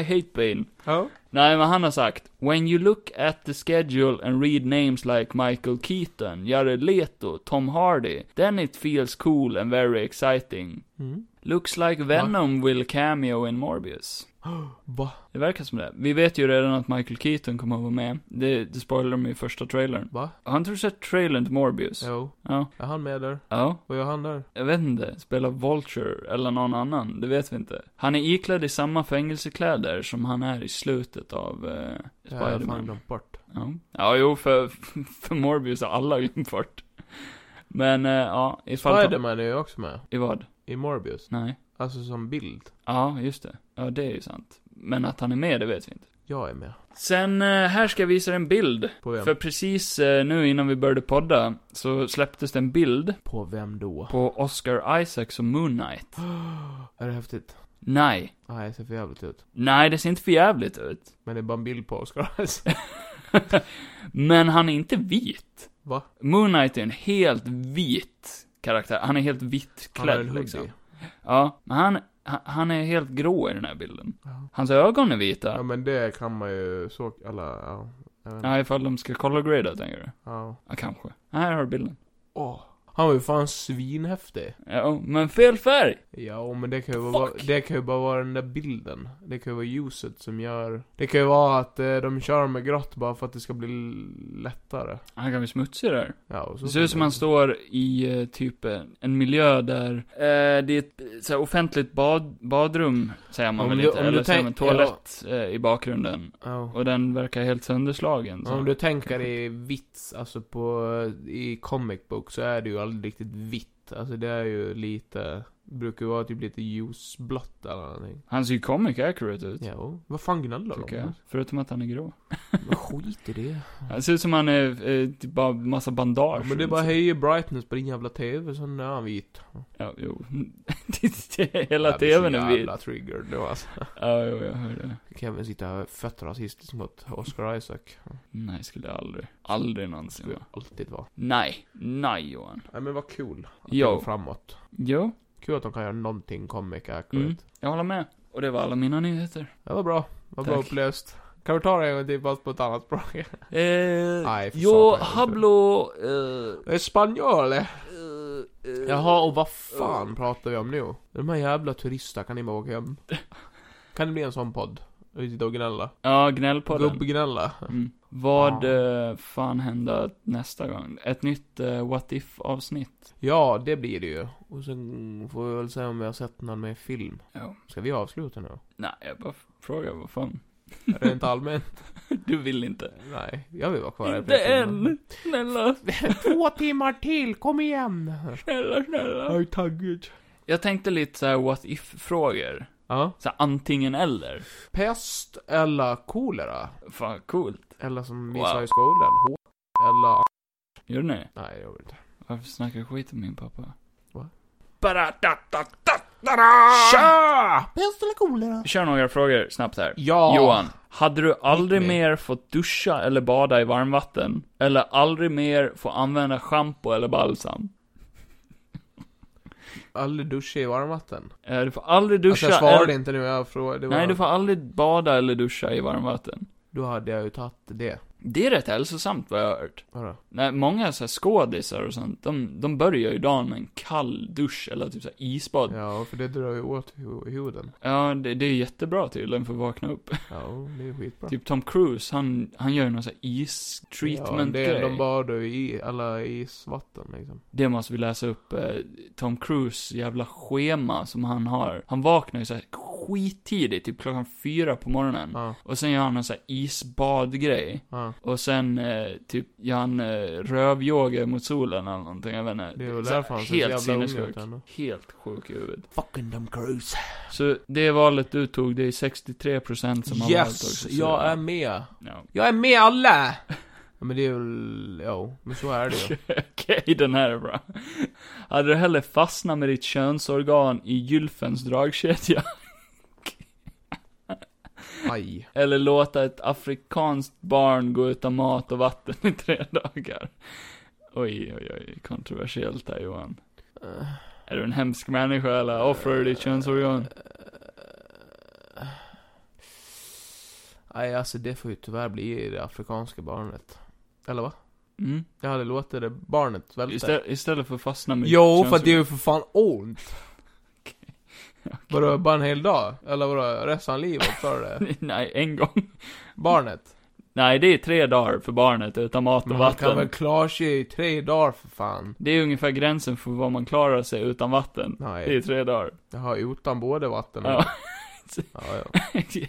I hate Bane.
Ja.
Nej, men han har sagt When you look at the schedule and read names like Michael Keaton, Jared Leto, Tom Hardy, then it feels cool and very exciting.
Mm.
Looks like Venom will cameo in Morbius.
Va?
Det verkar som det. Vi vet ju redan att Michael Keaton kommer att vara med. Det, det spoilar de i första trailern.
Va?
Har inte du sett trailern till Morbius?
Jo.
Ja.
Är han med där?
Ja.
Vad gör han där?
Jag vet inte. Spelar Vulture eller någon annan. Det vet vi inte. Han är iklädd i samma fängelsekläder som han är i slutet av eh,
Jag har fan
Spiderman.
glömt bort.
Ja, ja jo, för, för Morbius har alla glömt bort. Men, eh, ja, ifall...
Spiderman är ju också med.
I vad?
I Morbius.
Nej.
Alltså som bild.
Ja, just det. Ja, det är ju sant. Men att han är med, det vet vi inte.
Jag är med.
Sen, eh, här ska jag visa en bild.
På vem?
För precis eh, nu innan vi började podda, så släpptes det en bild
På vem då?
på Oscar Isaac som Moon Knight.
Är det häftigt?
Nej.
Nej, det ser för jävligt ut.
Nej, det ser inte för jävligt ut.
Men det är bara en bild på Oscar
Men han är inte vit.
Va?
Moon Knight är en helt vit karaktär. Han är helt vitt
Han har en
klädd,
hoodie.
liksom. Ja, men han, han- han är helt grå i den här bilden.
Ja.
Hans ögon är vita.
ja, men det kan man ju så... Alla, ja. Jag vet inte.
Ja, ifall de ska color grada, tänker du?
ja.
Ja, kanske. Här har du bilden.
Åh. Han var ju fan svinhäftig.
Ja, oh, men fel färg!
Ja, men det kan, ju
Fuck.
vara, det kan ju bara vara den där bilden. Det kan ju vara ljuset som gör... Det kan ju vara att eh, de kör med grått bara för att det ska bli l- lättare.
Han kan bli smutsig där.
Ja, och så
Det ser ut som han står i eh, typ eh, en miljö där, eh, det är ett eh, så här, offentligt bad, badrum, säger man
Om
väl
du-
inte,
om du
eller så är det
tänk-
en toalett eh, i bakgrunden.
Ja.
Och den verkar helt sönderslagen. Så.
Om du tänker i vitt, alltså på, i comic book så är det ju aldrig riktigt vitt. Alltså det är ju lite, brukar ju vara typ lite ljusblått eller någonting.
Han ser ju comic accurate ut,
Ja, vad fan gnäller
tycker
de
jag.
om?
Förutom att han är grå.
Men Skit i det.
Han ser ut som han är, eh, typ bara massa bandage.
Ja, men det är bara höjer brightness på din jävla TV, sen är han vit.
Ja, jo. Det- det- Hela
Jag blir så
tvn är vit.
jävla triggered nu alltså.
Ja, jo, jag hör det.
Kevin sitter här fett rasistisk mot Oscar Isaac.
Nej, skulle jag aldrig. Aldrig någonsin
Skulle
vara.
alltid vara.
Nej. Nej, Johan.
Nej men vad kul. Att det
Jo.
går framåt.
Jo,
Kul att de kan göra någonting comic accurate.
Mm. jag håller med. Och det var alla mina nyheter.
Det var bra. Det var bra
Tack.
upplöst. Kan vi ta det en gång till fast på ett annat språk?
Eh,
Nej, för satan, jag vet
hablo... Eh,
Espanjol!
eh,
Jaha, och vad fan pratar vi om nu? De här jävla turisterna, kan ni bara åka hem? Kan det bli en sån podd? Vi sitter och gnälla.
Ja, gnällpodden.
Gubbgnälla.
Mm. Vad eh, fan hände nästa gång? Ett nytt eh, What If-avsnitt.
Ja, det blir det ju. Och sen får vi väl se om vi har sett någon mer film.
Ja.
Ska vi avsluta nu?
Nej, jag bara frågar vad fan.
Rent allmänt?
Du vill inte.
Nej, jag vill vara kvar här i
Inte
flera timmar.
än. Snälla,
Två timmar till, kom igen!
snälla, snälla.
Jag är taggad.
Jag tänkte lite såhär what if-frågor.
Ja.
Såhär antingen eller.
Pest eller kolera?
Fan, coolt.
Eller som vi
Wow.
sa i skolan, H eller A.
Gjorde ni?
Nej, jag vet inte.
Varför snackar du skit om min pappa?
Va?
Tja!
Pest eller kolera?
Vi kör några frågor snabbt här.
Ja!
Johan, hade du aldrig
Hit me.
mer fått duscha eller bada i varmvatten? Eller aldrig mer få använda shampoo eller balsam?
Aldrig duscha i varmvatten.
Eh, Du får aldrig duscha
Alltså jag svarade
eller...
inte nu, jag frågade. det var-
Nej, du får aldrig bada eller duscha i varmvatten.
Då hade jag ju tagit det.
Det är rätt hälsosamt vad jag har hört.
Vadå?
Nej, många så här skådisar och sånt, de, de börjar ju dagen med en kall dusch eller typ så här isbad. Ja,
Ja, för det drar ju åt hu- huden.
det, det är jättebra tydligen för att vakna upp.
Ja, det är skitbra.
Typ Tom Cruise, han, han gör ju någon sån här
ja,
is-treatment
det är, De
grej.
badar ju i alla isvatten liksom.
Det måste vi läsa upp, eh, Tom Cruise jävla schema som han har. Han vaknar ju så här skittidigt, typ klockan fyra på morgonen.
Ja,
Och sen gör han en sån här isbadgrej.
ja.
Och sen eh, typ gör han eh, rövyoga mot solen eller någonting, jag vet inte.
Det är väl
Så här
därför han ser så
helt
jävla
sinnessjuk.
ung ut ändå.
Helt sjuk i huvudet.
Fucking Tom Cruise.
Så det valet du tog, det är 63% som har valt
Yes!
också. så-
Jag är med.
Ja.
Jag är med alla! Ja, men det är väl, ja, men så är det ju.
Okej, den här är bra. Hade du hellre fastnat med ditt könsorgan i gylfens dragkedja?
Aj.
Eller låta ett afrikanskt barn gå utan mat och vatten i tre dagar? Oj, oj, oj. Kontroversiellt här Johan.
Eh,
Är du en hemsk människa eller offrar du ditt könsorgan?
Nej, alltså det får ju tyvärr bli det afrikanska barnet. Eller va?
Mm.
Jag hade låtit det barnet välta.
Istället, istället för att fastna med
Jo, för att det är
könsorgan.
ju för fan ont. Vadå, bara en hel dag? Eller vadå, resten av livet? Sa du det?
Nej, en gång.
Barnet?
Nej, det är tre dagar för barnet utan mat och
Men han kan
vatten.
väl klara sig i tre dagar för fan?
Det är ungefär gränsen för vad man klarar sig utan vatten. Det är
Nej,
tre dagar.
jag har utan både vatten och...
Ja.
Ja, ja.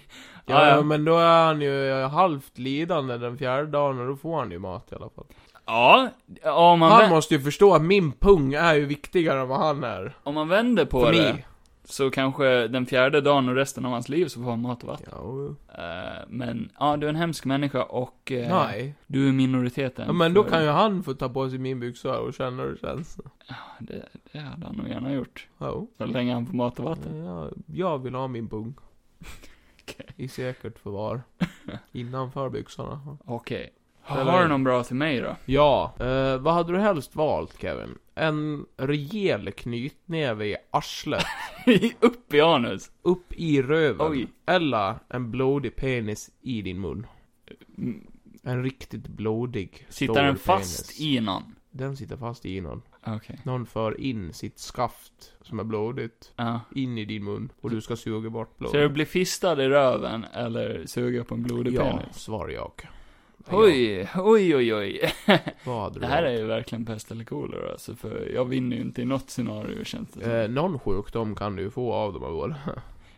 Ja,
Ja,
ja.
men då är han ju halvt lidande den fjärde dagen och då får han ju mat i alla fall.
ja, om man,
Han
vä-
måste ju förstå att min pung är ju viktigare än vad han är.
om man vänder på
För
det,
mig.
så kanske den fjärde dagen och resten av hans liv så får han mat och vatten.
Ja, oh. och-
Eh, men, ja, du är en hemsk människa och eh,
nej.
du är minoriteten.
Ja, men då
för-
kan ju han få ta på sig min byxa och känna hur det känns.
Det, det hade han nog gärna gjort.
Ja.
Så länge han får mat och vatten.
Ja, jag vill ha min pung.
Okej.
I säkert förvar. Innanför byxorna.
Okej.
Eller-
Har du någon bra till mig då?
Ja, eh, vad hade du helst valt Kevin? En rejäl knytnäve i arslet,
Upp i anus.
upp i röven.
Oj.
Eller en blodig penis i din mun.
Mm,
En riktigt blodig, stor
Sitter den fast
penis.
i någon?
Den sitter fast i någon.
Okej.
Någon för in sitt skaft, som är blodigt,
Ja.
in i din mun. Och du ska suga bort
Ska du
blodet.
bli fistad i röven eller suga på en blodig
Ja,
penis?
svarar jag.
Oj, oj, oj, oj.
Vad hade du
Det här
valt?
är ju verkligen pest eller kolera alltså, för jag vinner ju inte i något scenario känns det som.
Eh, någon sjukdom kan du ju få av de här båda.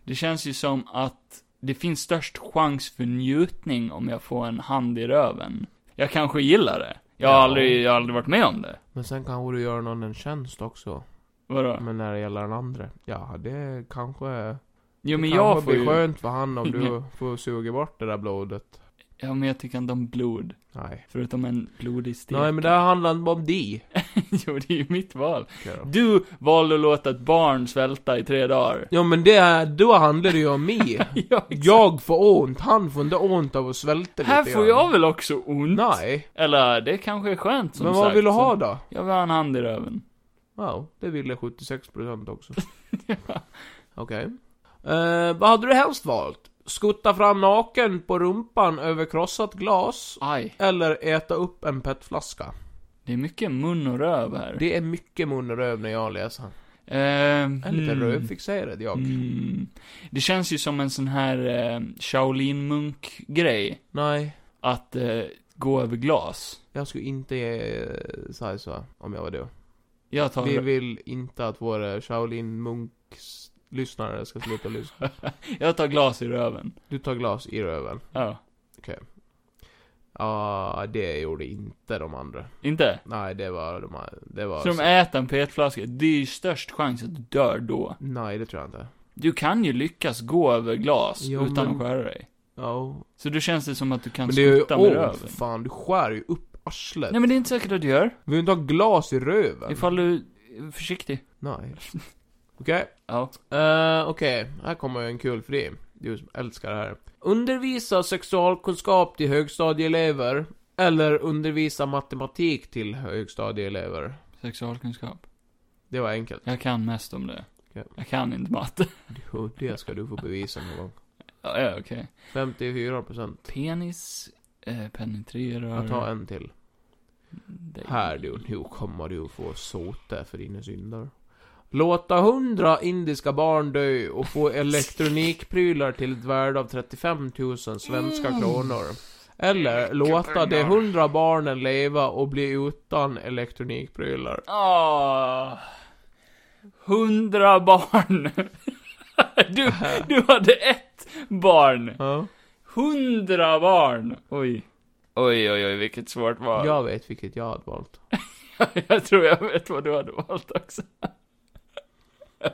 Det känns ju som att det finns störst chans för njutning om jag får en hand i röven. Jag kanske gillar det. Jag har,
Ja.
aldrig, jag har aldrig varit med om det.
Men sen kanske du gör någon en tjänst också.
Vadå?
Men när det gäller den andra. Ja, det kanske...
Jo men
det
jag
kanske
får
blir
ju...
skönt för han om du får suga bort det där blodet.
Ja men jag tycker inte om blod.
Nej.
Förutom en blodig stek.
Nej, men det här handlar inte bara om dig.
jo, det är ju mitt val. Du valde att låta ett barn svälta i tre dagar.
Ja, men det, då handlar det ju om mig.
Ja, exakt.
Jag får ont, han får inte ont av att svälta
Här
lite
får
grann.
jag väl också ont?
Nej.
Eller, det kanske är skönt som
men
sagt.
vad vill du
så-
ha då?
Jag vill ha en hand i röven.
Ja, det ville 76% också. Okej. Eh, vad hade du helst valt? Skutta fram naken på rumpan över krossat glas?
Aj.
Eller äta upp en petflaska?
Det är mycket mun och röv här.
Det är mycket mun och röv när jag läser.
Ehm,
Jag är lite
hmm.
rövfixerad jag.
Mm. Det känns ju som en sån här eh, Shaolin-munk-grej.
Nej,
Att eh, gå över glas.
jag skulle inte eh, säga så om jag var du.
Jag tar...
Vi vill inte att våra Shaolin Munks lyssnare ska sluta lyssna.
Jag tar glas i röven.
Du tar glas i röven.
Ja.
Ja, det gjorde inte de andra.
Inte?
Nej, det var de här- Det var
Så de äter en petflaska. Det är ju störst chans att du dör då.
Nej, det tror jag inte.
Du kan ju lyckas gå över glas
Jo,
utan
men-
att skära dig.
Ja.
Så då känns det som att du kan
Men det är ju
skutta med
ont
röven.
för fan, du skär ju upp arslet.
Nej men det är inte säkert att du gör.
Vill du inte ha glas i röven?
Ifall du är försiktig.
Nej. Okej.
Ja.
Eh, Okej, här kommer en kul för dig. Du som älskar det här. Undervisa sexualkunskap till högstadieelever. Eller undervisa matematik till högstadieelever.
Sexualkunskap.
Det var enkelt.
Jag kan mest om det.
Okej.
Jag kan inte matte.
Jo, Det ska du få bevisa någon gång.
ja, ja, okej.
54%.
Penis eh, penetrerar...
Jag tar en till.
dig.
Här du, nu kommer du få sota för dina synder. Låta hundra indiska barn dö och få elektronikprylar till ett värde av 35 000 svenska
Mm.
kronor. Eller låta de hundra barnen leva och bli utan elektronikprylar.
Ah, hundra barn! Du, du hade ett barn!
Ja.
Hundra barn! Oj. Oj, oj, oj, vilket svårt val.
Jag vet vilket jag hade valt.
jag tror jag vet vad du hade valt också.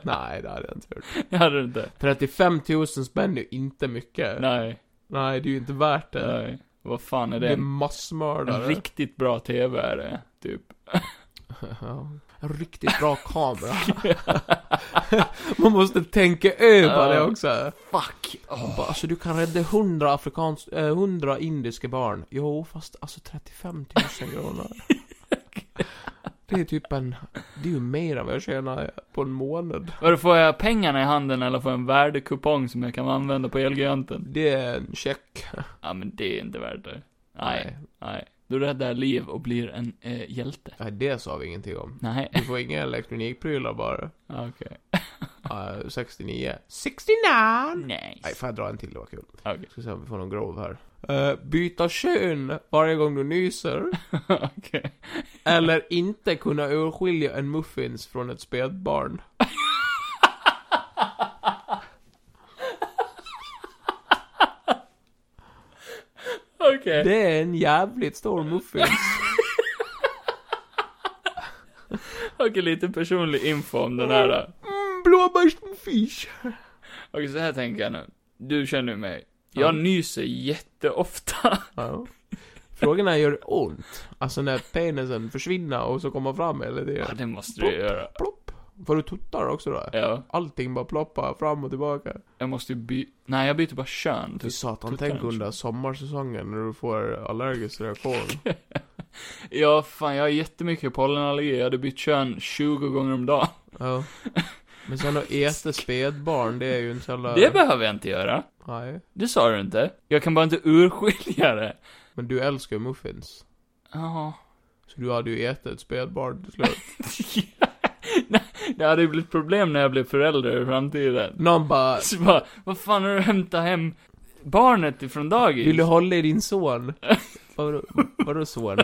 Nej, det hade jag inte gjort.
Jag hade du inte.
35 000 spänn är ju inte mycket.
Nej,
Nej, det är ju inte värt det.
nej. Vad fan är
Det
det?
är
En, en
massmördare.
riktigt bra TV är det, typ.
Ja. En riktigt bra kamera. Man måste tänka över
Ja.
det också.
Fuck!
Bara, Alltså du kan rädda 100 afrikans... eh, 100 indiska barn. Jo, fast alltså 35 000 kronor. Det är typ en... Det är ju mer än vad jag tjänar på en månad.
Vadå, får jag pengarna i handen eller får jag en värdekupong som jag kan använda på Elgiganten?
Det är en check.
Ja, men det är inte värt det. Nej, nej. Du räddar liv och blir en eh, hjälte.
Nej, det sa vi ingenting om.
Nej,
Du får inga elektronikprylar bara.
Ja, okej.
Eh, 69. 69! Nej,
Nice.
får jag dra en till? Det var kul.
Okej.
Ska se om vi får någon grov här. Eh, byta kön varje gång du nyser.
Okej.
Eller inte kunna urskilja en muffins från ett spädbarn.
Okej.
Det är en jävligt stor muffins.
Okej, lite personlig info om den här då.
Mm, blåbärsmuffins.
Okej, så här tänker jag nu. Du känner ju mig. Jag nyser jätteofta.
Ja. Frågan är, gör det ont? Alltså när penisen försvinner och så kommer fram, eller det...
Ja, det måste du ju göra.
Plopp. Får du tuttar också då?
Ja.
Allting bara ploppar fram och tillbaka.
Jag måste ju by... Nej, jag byter bara kön.
Fy
Typ.
satan,
tuttar
tänk
också.
under sommarsäsongen när du får allergisk reaktion.
Ja, fan, jag har jättemycket pollenallergi. Jag hade bytt kön 20 gånger om dagen.
Ja. Men sen att äta spädbarn, det är ju inte så jävla...
Det behöver jag inte göra.
Nej.
Det sa du inte. Jag kan bara inte urskilja det.
Men du älskar ju muffins.
Ja.
Så du hade ju ätit ett spädbarn till slut.
Nej, det hade ju blivit problem när jag blev förälder i framtiden.
Någon bara,
Så bara, vad fan har du hämtat hem barnet ifrån dagis?
vill du hålla i din son? Vadå, vadå son?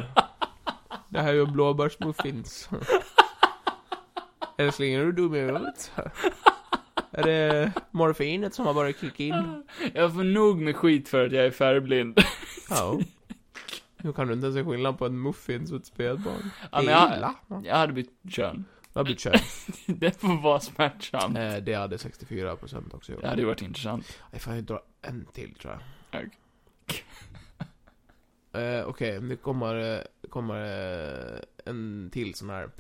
Det här är ju blåbärsmuffins. Älskling, är du dum i huvudet? Är det morfinet som har börjat kicka in?
Jag får nog med skit för att jag är färgblind.
Ja. Nu kan du inte ens se skillnad på en muffins och ett spädbarn.
Ja, men
det
jag-
är illa. Ja.
Jag hade bytt kön.
Det har blivit kört.
Det får vara smärtsamt.
Eh, det hade 64% också gjort.
Det hade ju varit intressant.
Jag får dra en till tror jag.
Okej.
Eh, Okej, nu kommer, eh, kommer eh, en till sån här.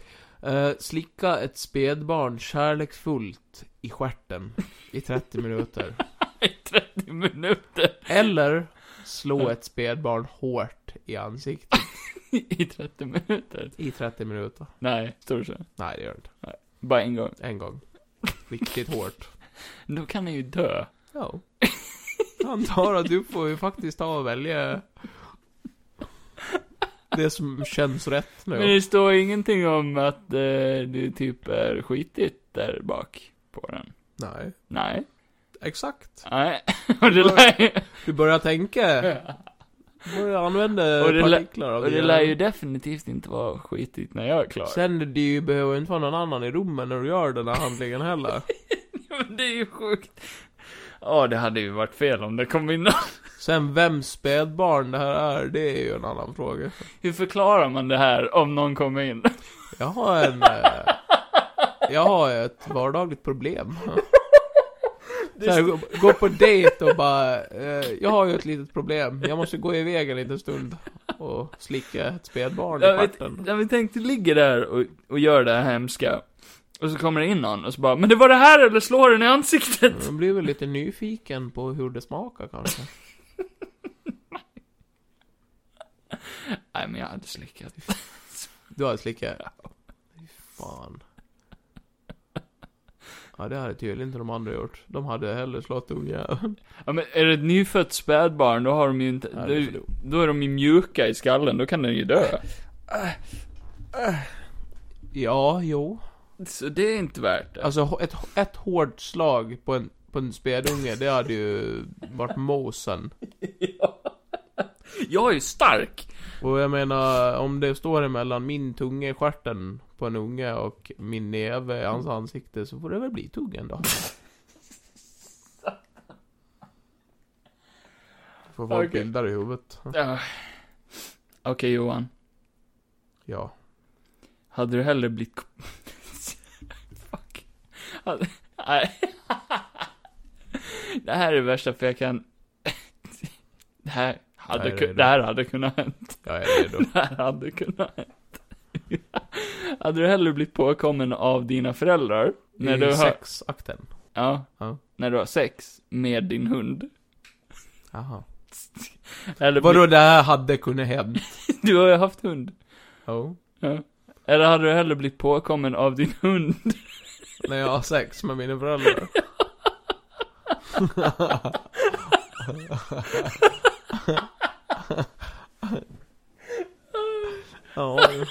Eh, slicka ett spädbarn kärleksfullt i stjärten i 30 minuter.
I 30 minuter.
Eller slå ett spädbarn hårt i ansiktet
I 30 minuter.
i 30 minuter.
Nej, står det så?
Nej, det gör det inte.
Bara en gång.
En gång. Riktigt hårt.
Då kan han ju dö.
Ja. Jag antar att du får ju faktiskt ta och välja det som känns rätt nu.
Men det står ingenting om att eh, det typ är skitigt där bak på den.
Nej,
Nej.
exakt.
Nej. Och det lär ju,
Du börjar tänka. Börjar använda
Och det lä-
partiklar av
och det
dina-
lär ju definitivt inte vara skitigt när jag är klar.
Sen det ju behöver inte vara någon annan i rummet när du gör den här handlingen heller.
Men det är ju sjukt. Ja, det hade ju varit fel om det kom in
Sen vems spädbarn det här är, det är ju en annan fråga.
Hur förklarar man det här om någon kommer in?
Jag har en... eh, Jag har ett vardagligt problem. Så här, gå, gå på dejt och bara, eh, jag har ju ett litet problem, jag måste gå iväg en liten stund och slicka ett spädbarn i
Jag vet,
stjärten.
jag vet, tänk, du ligger där och, och gör det här hemska. Och så kommer det in någon och så bara, men det var det här eller slår den i ansiktet?
Man blir väl lite nyfiken på hur det smakar kanske.
Nej, men jag hade slickat.
Du har slickat? Fy fan. Ja, det hade tydligen inte de andra gjort. De hade hellre slått ungjäveln.
Ja, men är det ett nyfött spädbarn, då har de ju inte,
Ja, det är för
då,
dumt.
då är de ju mjuka i skallen, då kan den ju dö.
Ja, jo.
Så det är inte värt det.
Alltså, h- ett, ett hårt slag på en, på en spädunge, det hade ju varit mosen.
jag är ju stark!
Och jag menar, om det står emellan min tunga i stjärten på en unge och min näve i hans ansikte så får det väl bli tuggen då. Får folk
Okej.
bilder i huvudet.
Ja. Okej Johan,
Ja.
hade du hellre blivit... k- Fuck. Hade... Nej. det här är det värsta, för jag kan... det, här hade
Nej, det
kun...
är det.
det här hade kunnat hända.
Jag är redo.
Det här hade kunnat hänt. hade du hellre blivit påkommen av dina föräldrar? När
I
du hör...
sexakten.
Ja.
Ja.
När du har sex med din hund.
Jaha.
Eller
Vadå det här hade kunnat hända?
Du har ju haft hund.
Jo.
Ja. Eller hade du hellre blivit påkommen av din hund?
När jag har sex med mina föräldrar. Ja, jo.
din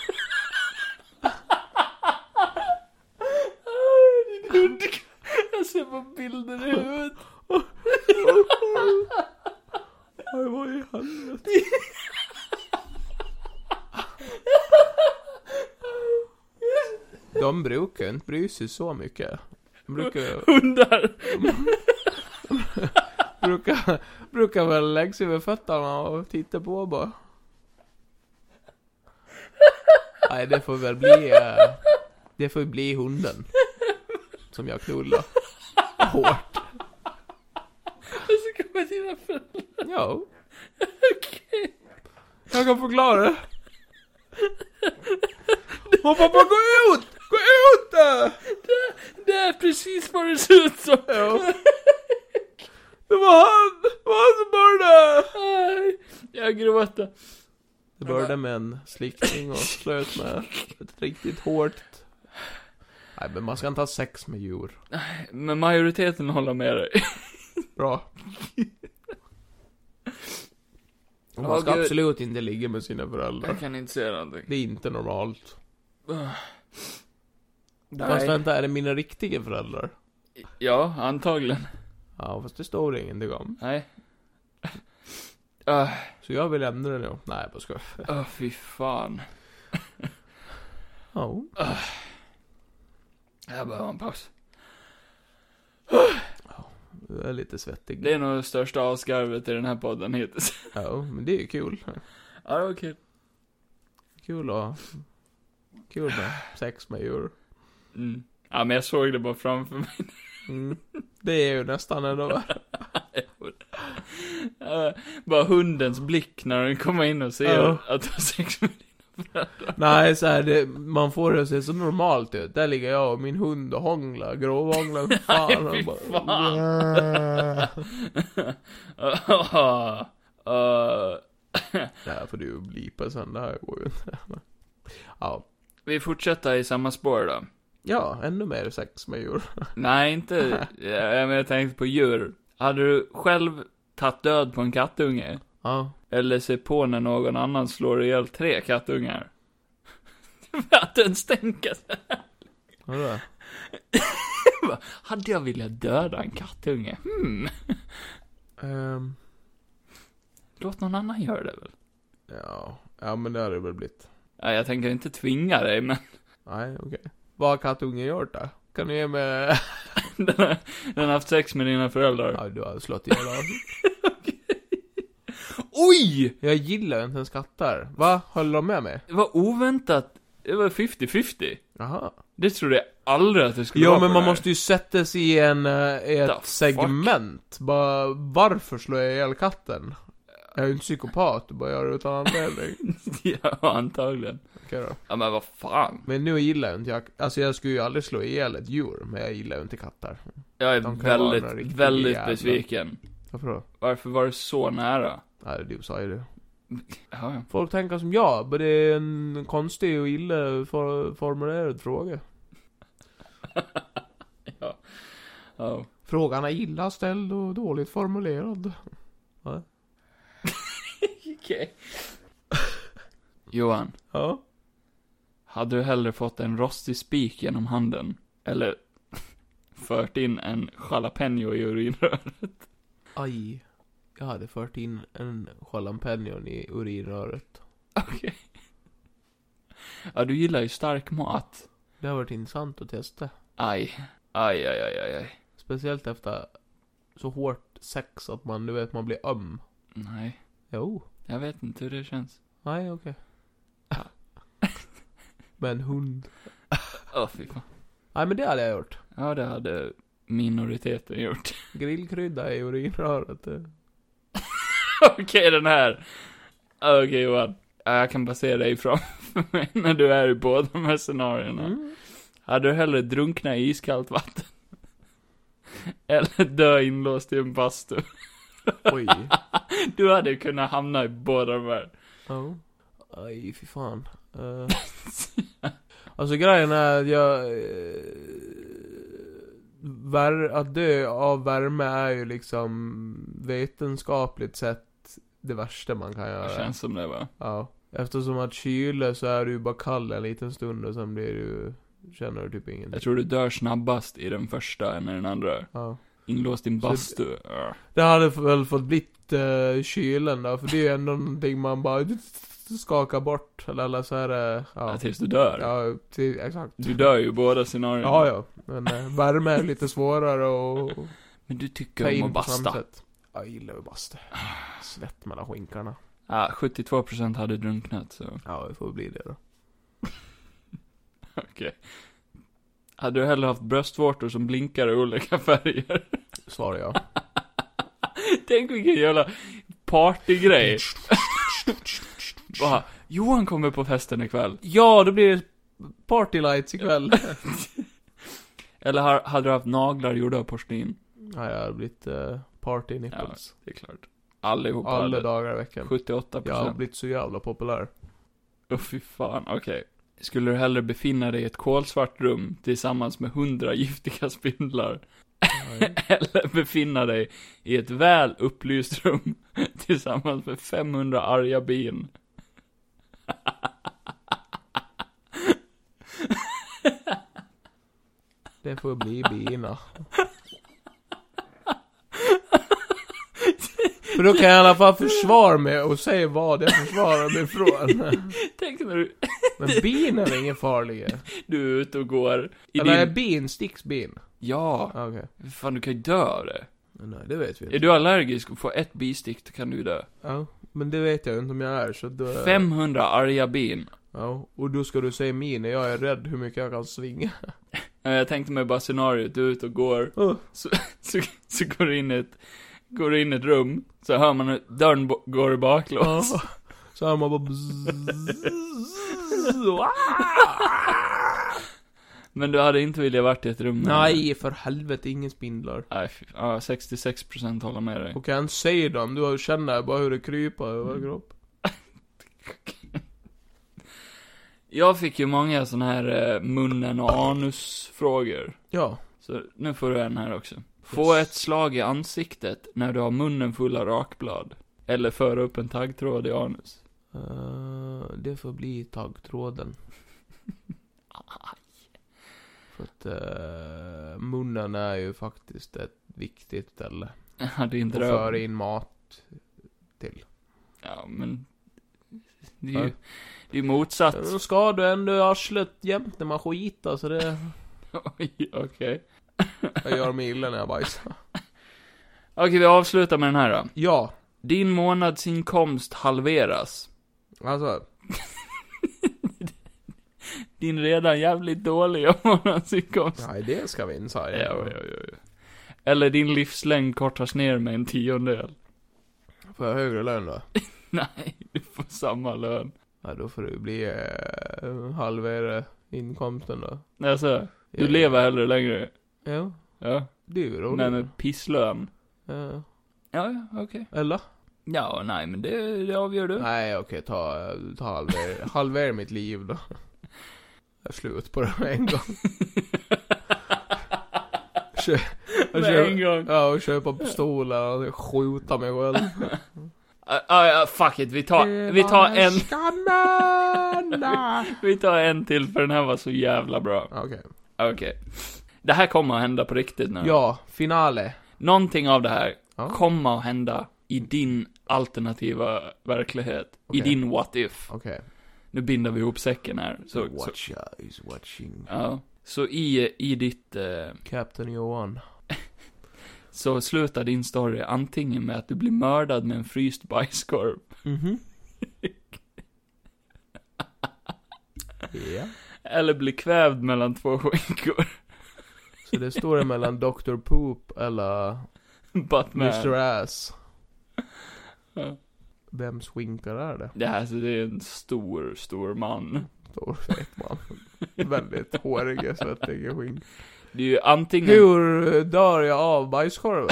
hund. Jag ser på bilder i huvudet.
Oj, vad i helvete? De brukar ju inte bry sig så mycket. De brukar,
Hundar.
brukar, brukar väl lägga sig över fötterna och titta på bara. Nej, det får väl bli... eh, Det får bli hunden. Som jag knullar. Hårt.
Och så kommer dina föräldrar.
Ja.
Okej.
Jag kan förklara det. Hon pappa, gå ut! Gå ut! eh!" där!
Det är precis vad det ser ut som.
Ja. Det var han! Det var han som började!
Aj, Jag gråter.
Det började med en slickning och slöt med ett riktigt hårt... Nej, men man ska inte ha sex med djur.
Men majoriteten håller med dig.
Bra.
Ja,
Och man ska
gud.
absolut inte ligga med sina föräldrar.
Jag kan inte säga någonting.
Det är inte normalt. Fast
Nej.
vänta, är det mina riktiga föräldrar?
Ja, antagligen.
Ja, fast det står det ingenting om.
Nej. Öh,
Så jag vill ändra det nu. Nej, jag bara skojar.
öh, fy fan.
Ja.
Jag behöver en paus.
Du är lite svettig.
Det är nog det största avskarvet i den här podden hittills.
Ja, men det är ju kul.
Ja, det var kul.
Kul att... Kul med sex med djur.
Mm. Ja, men jag såg det bara framför mig.
Mm. Det är ju nästan ändå värre.
Ja, Eh, bara hundens blick när den kommer in och ser
Ja.
att du har sex med
Nej, så här, det, man får det att se så normalt ut. Där ligger jag och min hund och hånglar, gråvhånglar som fan.
Nej, fy
och bara-
fan. Öh, öh.
Det här får du blipa sen, det här går ju inte. Ja.
Vi fortsätter i samma spår då.
ja, ännu mer sex med djur.
Nej, inte... Ja, men jag tänkte på djur. Hade du själv tagit död på en kattunge?
Ja.
Eller se på när någon annan slår ihjäl tre kattungar. För att den stänker sig.
Vadå?
Hade jag velat döda en kattunge? Hmm.
Ehm,
Låt någon annan göra det väl?
ja. ja, men det hade det väl blivit.
Ja, jag tänker inte tvinga dig, men
Nej, okej. Vad har kattungen gjort då? Kan du ge mig...
den har, den har haft sex med dina föräldrar.
Ja, du har slått ihjäl honom.
Oj!
Jag gillar inte ens katter. Va? Håller de med mig?
Det var oväntat. Det var 50-50.
Jaha.
Det trodde jag aldrig att det skulle
Ja
vara
men
på
man
det här.
måste ju sätta sig i en, eh, i
The fuck?
ett segment. Bara, varför slår jag ihjäl katten? Jag är ju inte psykopat och bara gör det utan anledning.
Ja, antagligen.
Okej då.
Ja, men vad fan.
Men nu gillar jag inte jag, alltså jag skulle ju aldrig slå ihjäl ett djur, men jag gillar ju inte katter.
Jag är
De kan vara
väldigt,
några riktiga
väldigt
jävlar.
besviken.
Varför då?
Varför var det så nära?
Nej, du sa ju det.
Ja, ja.
Folk tänker som jag, men det är en konstig och illa for, formulerad fråga.
Ja.
Frågan är illa ställd och dåligt formulerad.
Okej. Johan,
Ja.
hade du hellre fått en rostig spik genom handen? Eller fört in en jalapeno i urinröret?
Aj. Jag hade fört in en jalapeñon i urinröret.
Okej. Ja, du gillar ju stark mat.
Det har varit intressant att testa.
Aj. Aj, aj, aj, aj, aj.
Speciellt efter så hårt sex att man, du vet, man blir öm.
Nej,
Jo.
jag vet inte hur det känns.
Nej, okej. Med en hund.
Åh, fy fan.
Nej, men det hade jag gjort.
Ja, det hade minoriteten gjort.
Grillkrydda i urinröret. eh.
Okej, den här. Okej, Johan. Ja, Jag kan bara se dig framför mig när du är i båda de här scenarierna.
Mm.
Hade du hellre drunkna i iskallt vatten? Eller dö inlåst i en bastu?
Oj.
Du hade kunnat hamna i båda de här.
Ja. Aj, fy fan. Eh. alltså grejen är att jag... eh, vär, att dö av värme är ju liksom vetenskapligt sett det värsta man kan göra.
Det känns som det va?
Ja. Eftersom att kyla så är du ju bara kall en liten stund och sen blir du... Känner du typ ingenting.
Jag tror du dör snabbast i den första än i den andra.
Ja.
Inlåst i en
Så-
bastu. Ah.
Det hade väl fått blivit uh, kylen då, för det är ju ändå någonting man bara skakar bort. Eller, eller så är det... Ja.
Ja, tills du dör.
Ja, till, exakt.
Du dör ju i båda scenarierna.
Ja, ja. Men eh, värme är lite svårare och
Men du tycker
ta
om
in
att
på samma
basta.
sätt. Jag gillar ju bastu. Svett mellan skinkarna.
Ja, 72% hade drunknat så.
Ja, det får bli det då.
Hade du hellre haft bröstvårtor som blinkar i olika färger?
Svarar jag.
Tänk vilken jävla partygrej. Bara, Johan kommer på festen ikväll.
Ja, då blir det party lights ikväll.
Eller har- hade du haft naglar gjorda av porslin?
Nej, jag har blivit eh, party nipples.
Det är klart. Allihopa
Alla
hade.
dagar i veckan.
78
Jag har
procent.
blivit så jävla populär.
Åh fy fan, okej. Skulle du hellre befinna dig i ett kolsvart rum tillsammans med hundra giftiga spindlar?
Nej.
Eller befinna dig i ett väl upplyst rum tillsammans med 500 arga bin?
Det får bli bina. För då kan jag i alla fall försvara mig och säga vad jag försvarar mig ifrån.
Tänk när du,
Men bin är väl ingen farliga?
du är ute och går i
Eller är
din...
bin sticksbin? Ah,
Ja,
Okej.
fan du kan ju dö av det.
Nej, det vet vi
Är
inte.
du allergisk och får ett bistick då kan du dö.
Ja, men det vet jag inte om jag är, så då...
500 arga bin.
Ja, och då ska du säga min när jag är rädd hur mycket jag kan svinga.
Eh, Jag tänkte mig bara scenariot, du är ute och går,
Oh.
så, så går du in i ett, går du in i ett rum, så hör man hur dörren bo- går baklås.
Ja. Så här man bara... bzzz.
Men du hade inte velat varit i ett rum med-
Nej, för helvete, ingen spindlar.
Nej, fy- ja, 66% håller med dig.
Och kan jag inte säga dem, du känner bara hur det kryper över kroppen.
Jag fick ju många såna här eh, munnen och anusfrågor.
Ja.
Så nu får du en här också. Få
Yes.
ett slag i ansiktet när du har munnen full av rakblad. Eller föra upp en taggtråd i anus.
Eh, det får bli taggtråden. För att eh, munnen är ju faktiskt ett viktigt ställe.
Ja, det är
Och
inte det.
föra in mat till.
Ja, men... Det är
Ja.
ju det är motsatt.
Då ska du ändå i arslet jämt när man skiter, så det...
Oj, okej. Okej,
Jag gör mig illa när jag bajsar.
vi avslutar med den här då.
Ja,
Din månadsinkomst halveras.
alltså.
Din redan jävligt dåliga månadsinkomst.
Nej, det ska vi inte säga.
Ja, ja, ja, ja. Eller din livslängd kortas ner med en tiondel.
Får jag högre lön då?
Nej, du får samma lön.
Ja, då får det bli eh, halvera inkomsten då.
Alltså, du
Ja.
lever hellre längre.
Ja,
Ja.
det är ju roligt.
Men med pisslön.
Ja.
Ja, ja, okej.
Eller?
Ja, nej, men det, det avgör du.
Nej, okej, ta, ta halver, halver mitt liv då. Jag är slut på det med en gång. kö- jag
Med en
kö-
gång.
ja, och köpa pistoler och skjuta mig själv.
Ja, ja, fuck it, vi tar, vi tar en,
Skammen!
vi tar en till för den här var så jävla bra.
Okej.
Okej. Det här kommer att hända på riktigt nu.
Ja, finale.
Någonting av det här
Ja.
kommer att hända i din alternativa verklighet. I
Okej.
din what if.
Okej.
Nu binder vi ihop säcken här. Så, så,
Watcha is watching.
ja. så i, i ditt, eh,
Captain Johan.
så slutar din story antingen med att du blir mördad med en fryst bajskorv.
Mhm. ja.
Eller blir kvävd mellan två skinkor.
Så det står emellan Dr. Poop eller
Batman.
Mr. Ass.
Ja.
Vem svinkar är det?
Det här, så det är en stor, stor man.
Stor fet man. Väldigt hårig, svettig skink.
Det är ju
Mm.
antingen...
Hur eh, dör jag av bajskorven?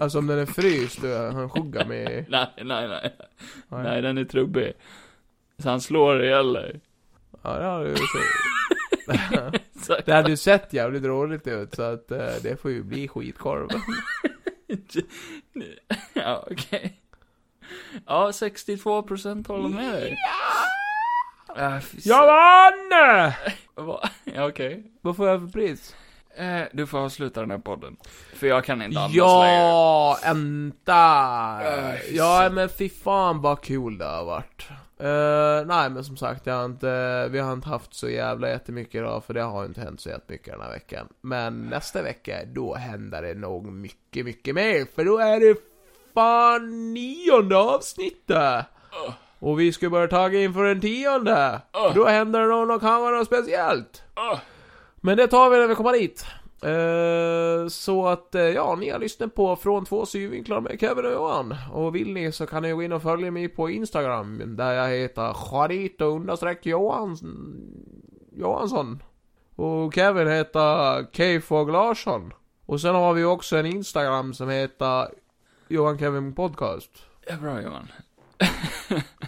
alltså om den är fryst och han skuggar mig.
Nej, nej, nej.
Nej.
Nej, den är trubbig. Så han slår ihjäl dig.
Ja, det har du ju sett.
Så,
Det hade ju sett jävligt roligt ut, så att eh, det får ju bli skitkorv.
ja, okej. Ja, 62% håller med dig. Äh, fy
Jag vann!
sa- Va? Ja, okej.
Vad får jag för pris?
Eh, du får avsluta den här podden. För jag kan inte andas längre.
Ja, änta!
Äh,
Ja,
så-
men fy fan vad kul det har varit. Eh, nej, men som sagt, jag har inte, vi har inte haft så jävla jättemycket idag, för det har inte hänt så jättemycket den här veckan. Men nästa vecka, då händer det nog mycket, mycket mer, för då är det fan nionde avsnittet!
Åh.
Och vi ska börja tagga inför den tionde!
Åh.
Då händer det nog något, kan vara något speciellt!
Åh,
Men det tar vi när vi kommer dit. Eh, så att, eh, ja, ni har lyssnat på Från två synvinklar med Kevin och Johan. Och vill ni så kan ni gå in och följa mig på Instagram, där jag heter Charito understreck Johansson. Johansson. Och Kevin heter Kfog Larsson. Och sen har vi också en Instagram som heter Johan Kevin Podcast.
ja, bra Johan.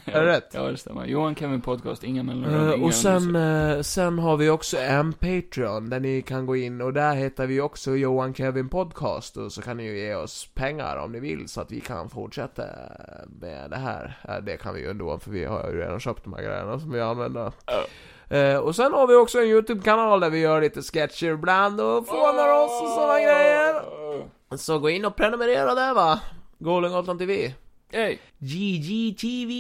Är det rätt?
Ja, det stämmer. Johan Kevin Podcast, inga
Eh,
mellanrum, inga
och sen,
undersök-
eh, sen har vi också en Patreon där ni kan gå in och där heter vi också Johan Kevin Podcast och så kan ni ju ge oss pengar om ni vill så att vi kan fortsätta med det här. Eh, Det kan vi ju ändå för vi har ju redan köpt de här grejerna som vi använder. Eh, och sen har vi också en YouTube-kanal där vi gör lite sketcher ibland och fånar oss och
Ah.
sådana grejer. Så gå in och prenumerera där va. Gålengatan TV.
Hej!
GGTV.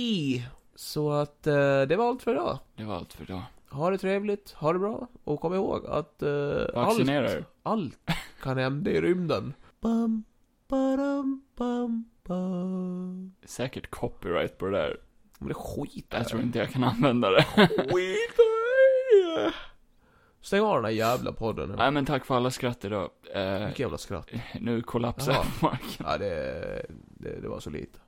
Så att eh, det var allt för idag.
Det var allt för idag.
Ha det trevligt, ha det bra och kom ihåg att eh,
Vaccinera
allt,
er.
allt kan hända i rymden. Bam, badam, bam, bam.
Säkert copyright på det där.
Men det skiter
Jag tror inte jag kan använda det.
Skiter i. Stäng av den här jävla podden nu.
Nej men tack för alla skratt idag. Eh,
Vilket jävla skratt.
nu kollapsar
Jaha.
marken.
Ja, det, det, det var så lite.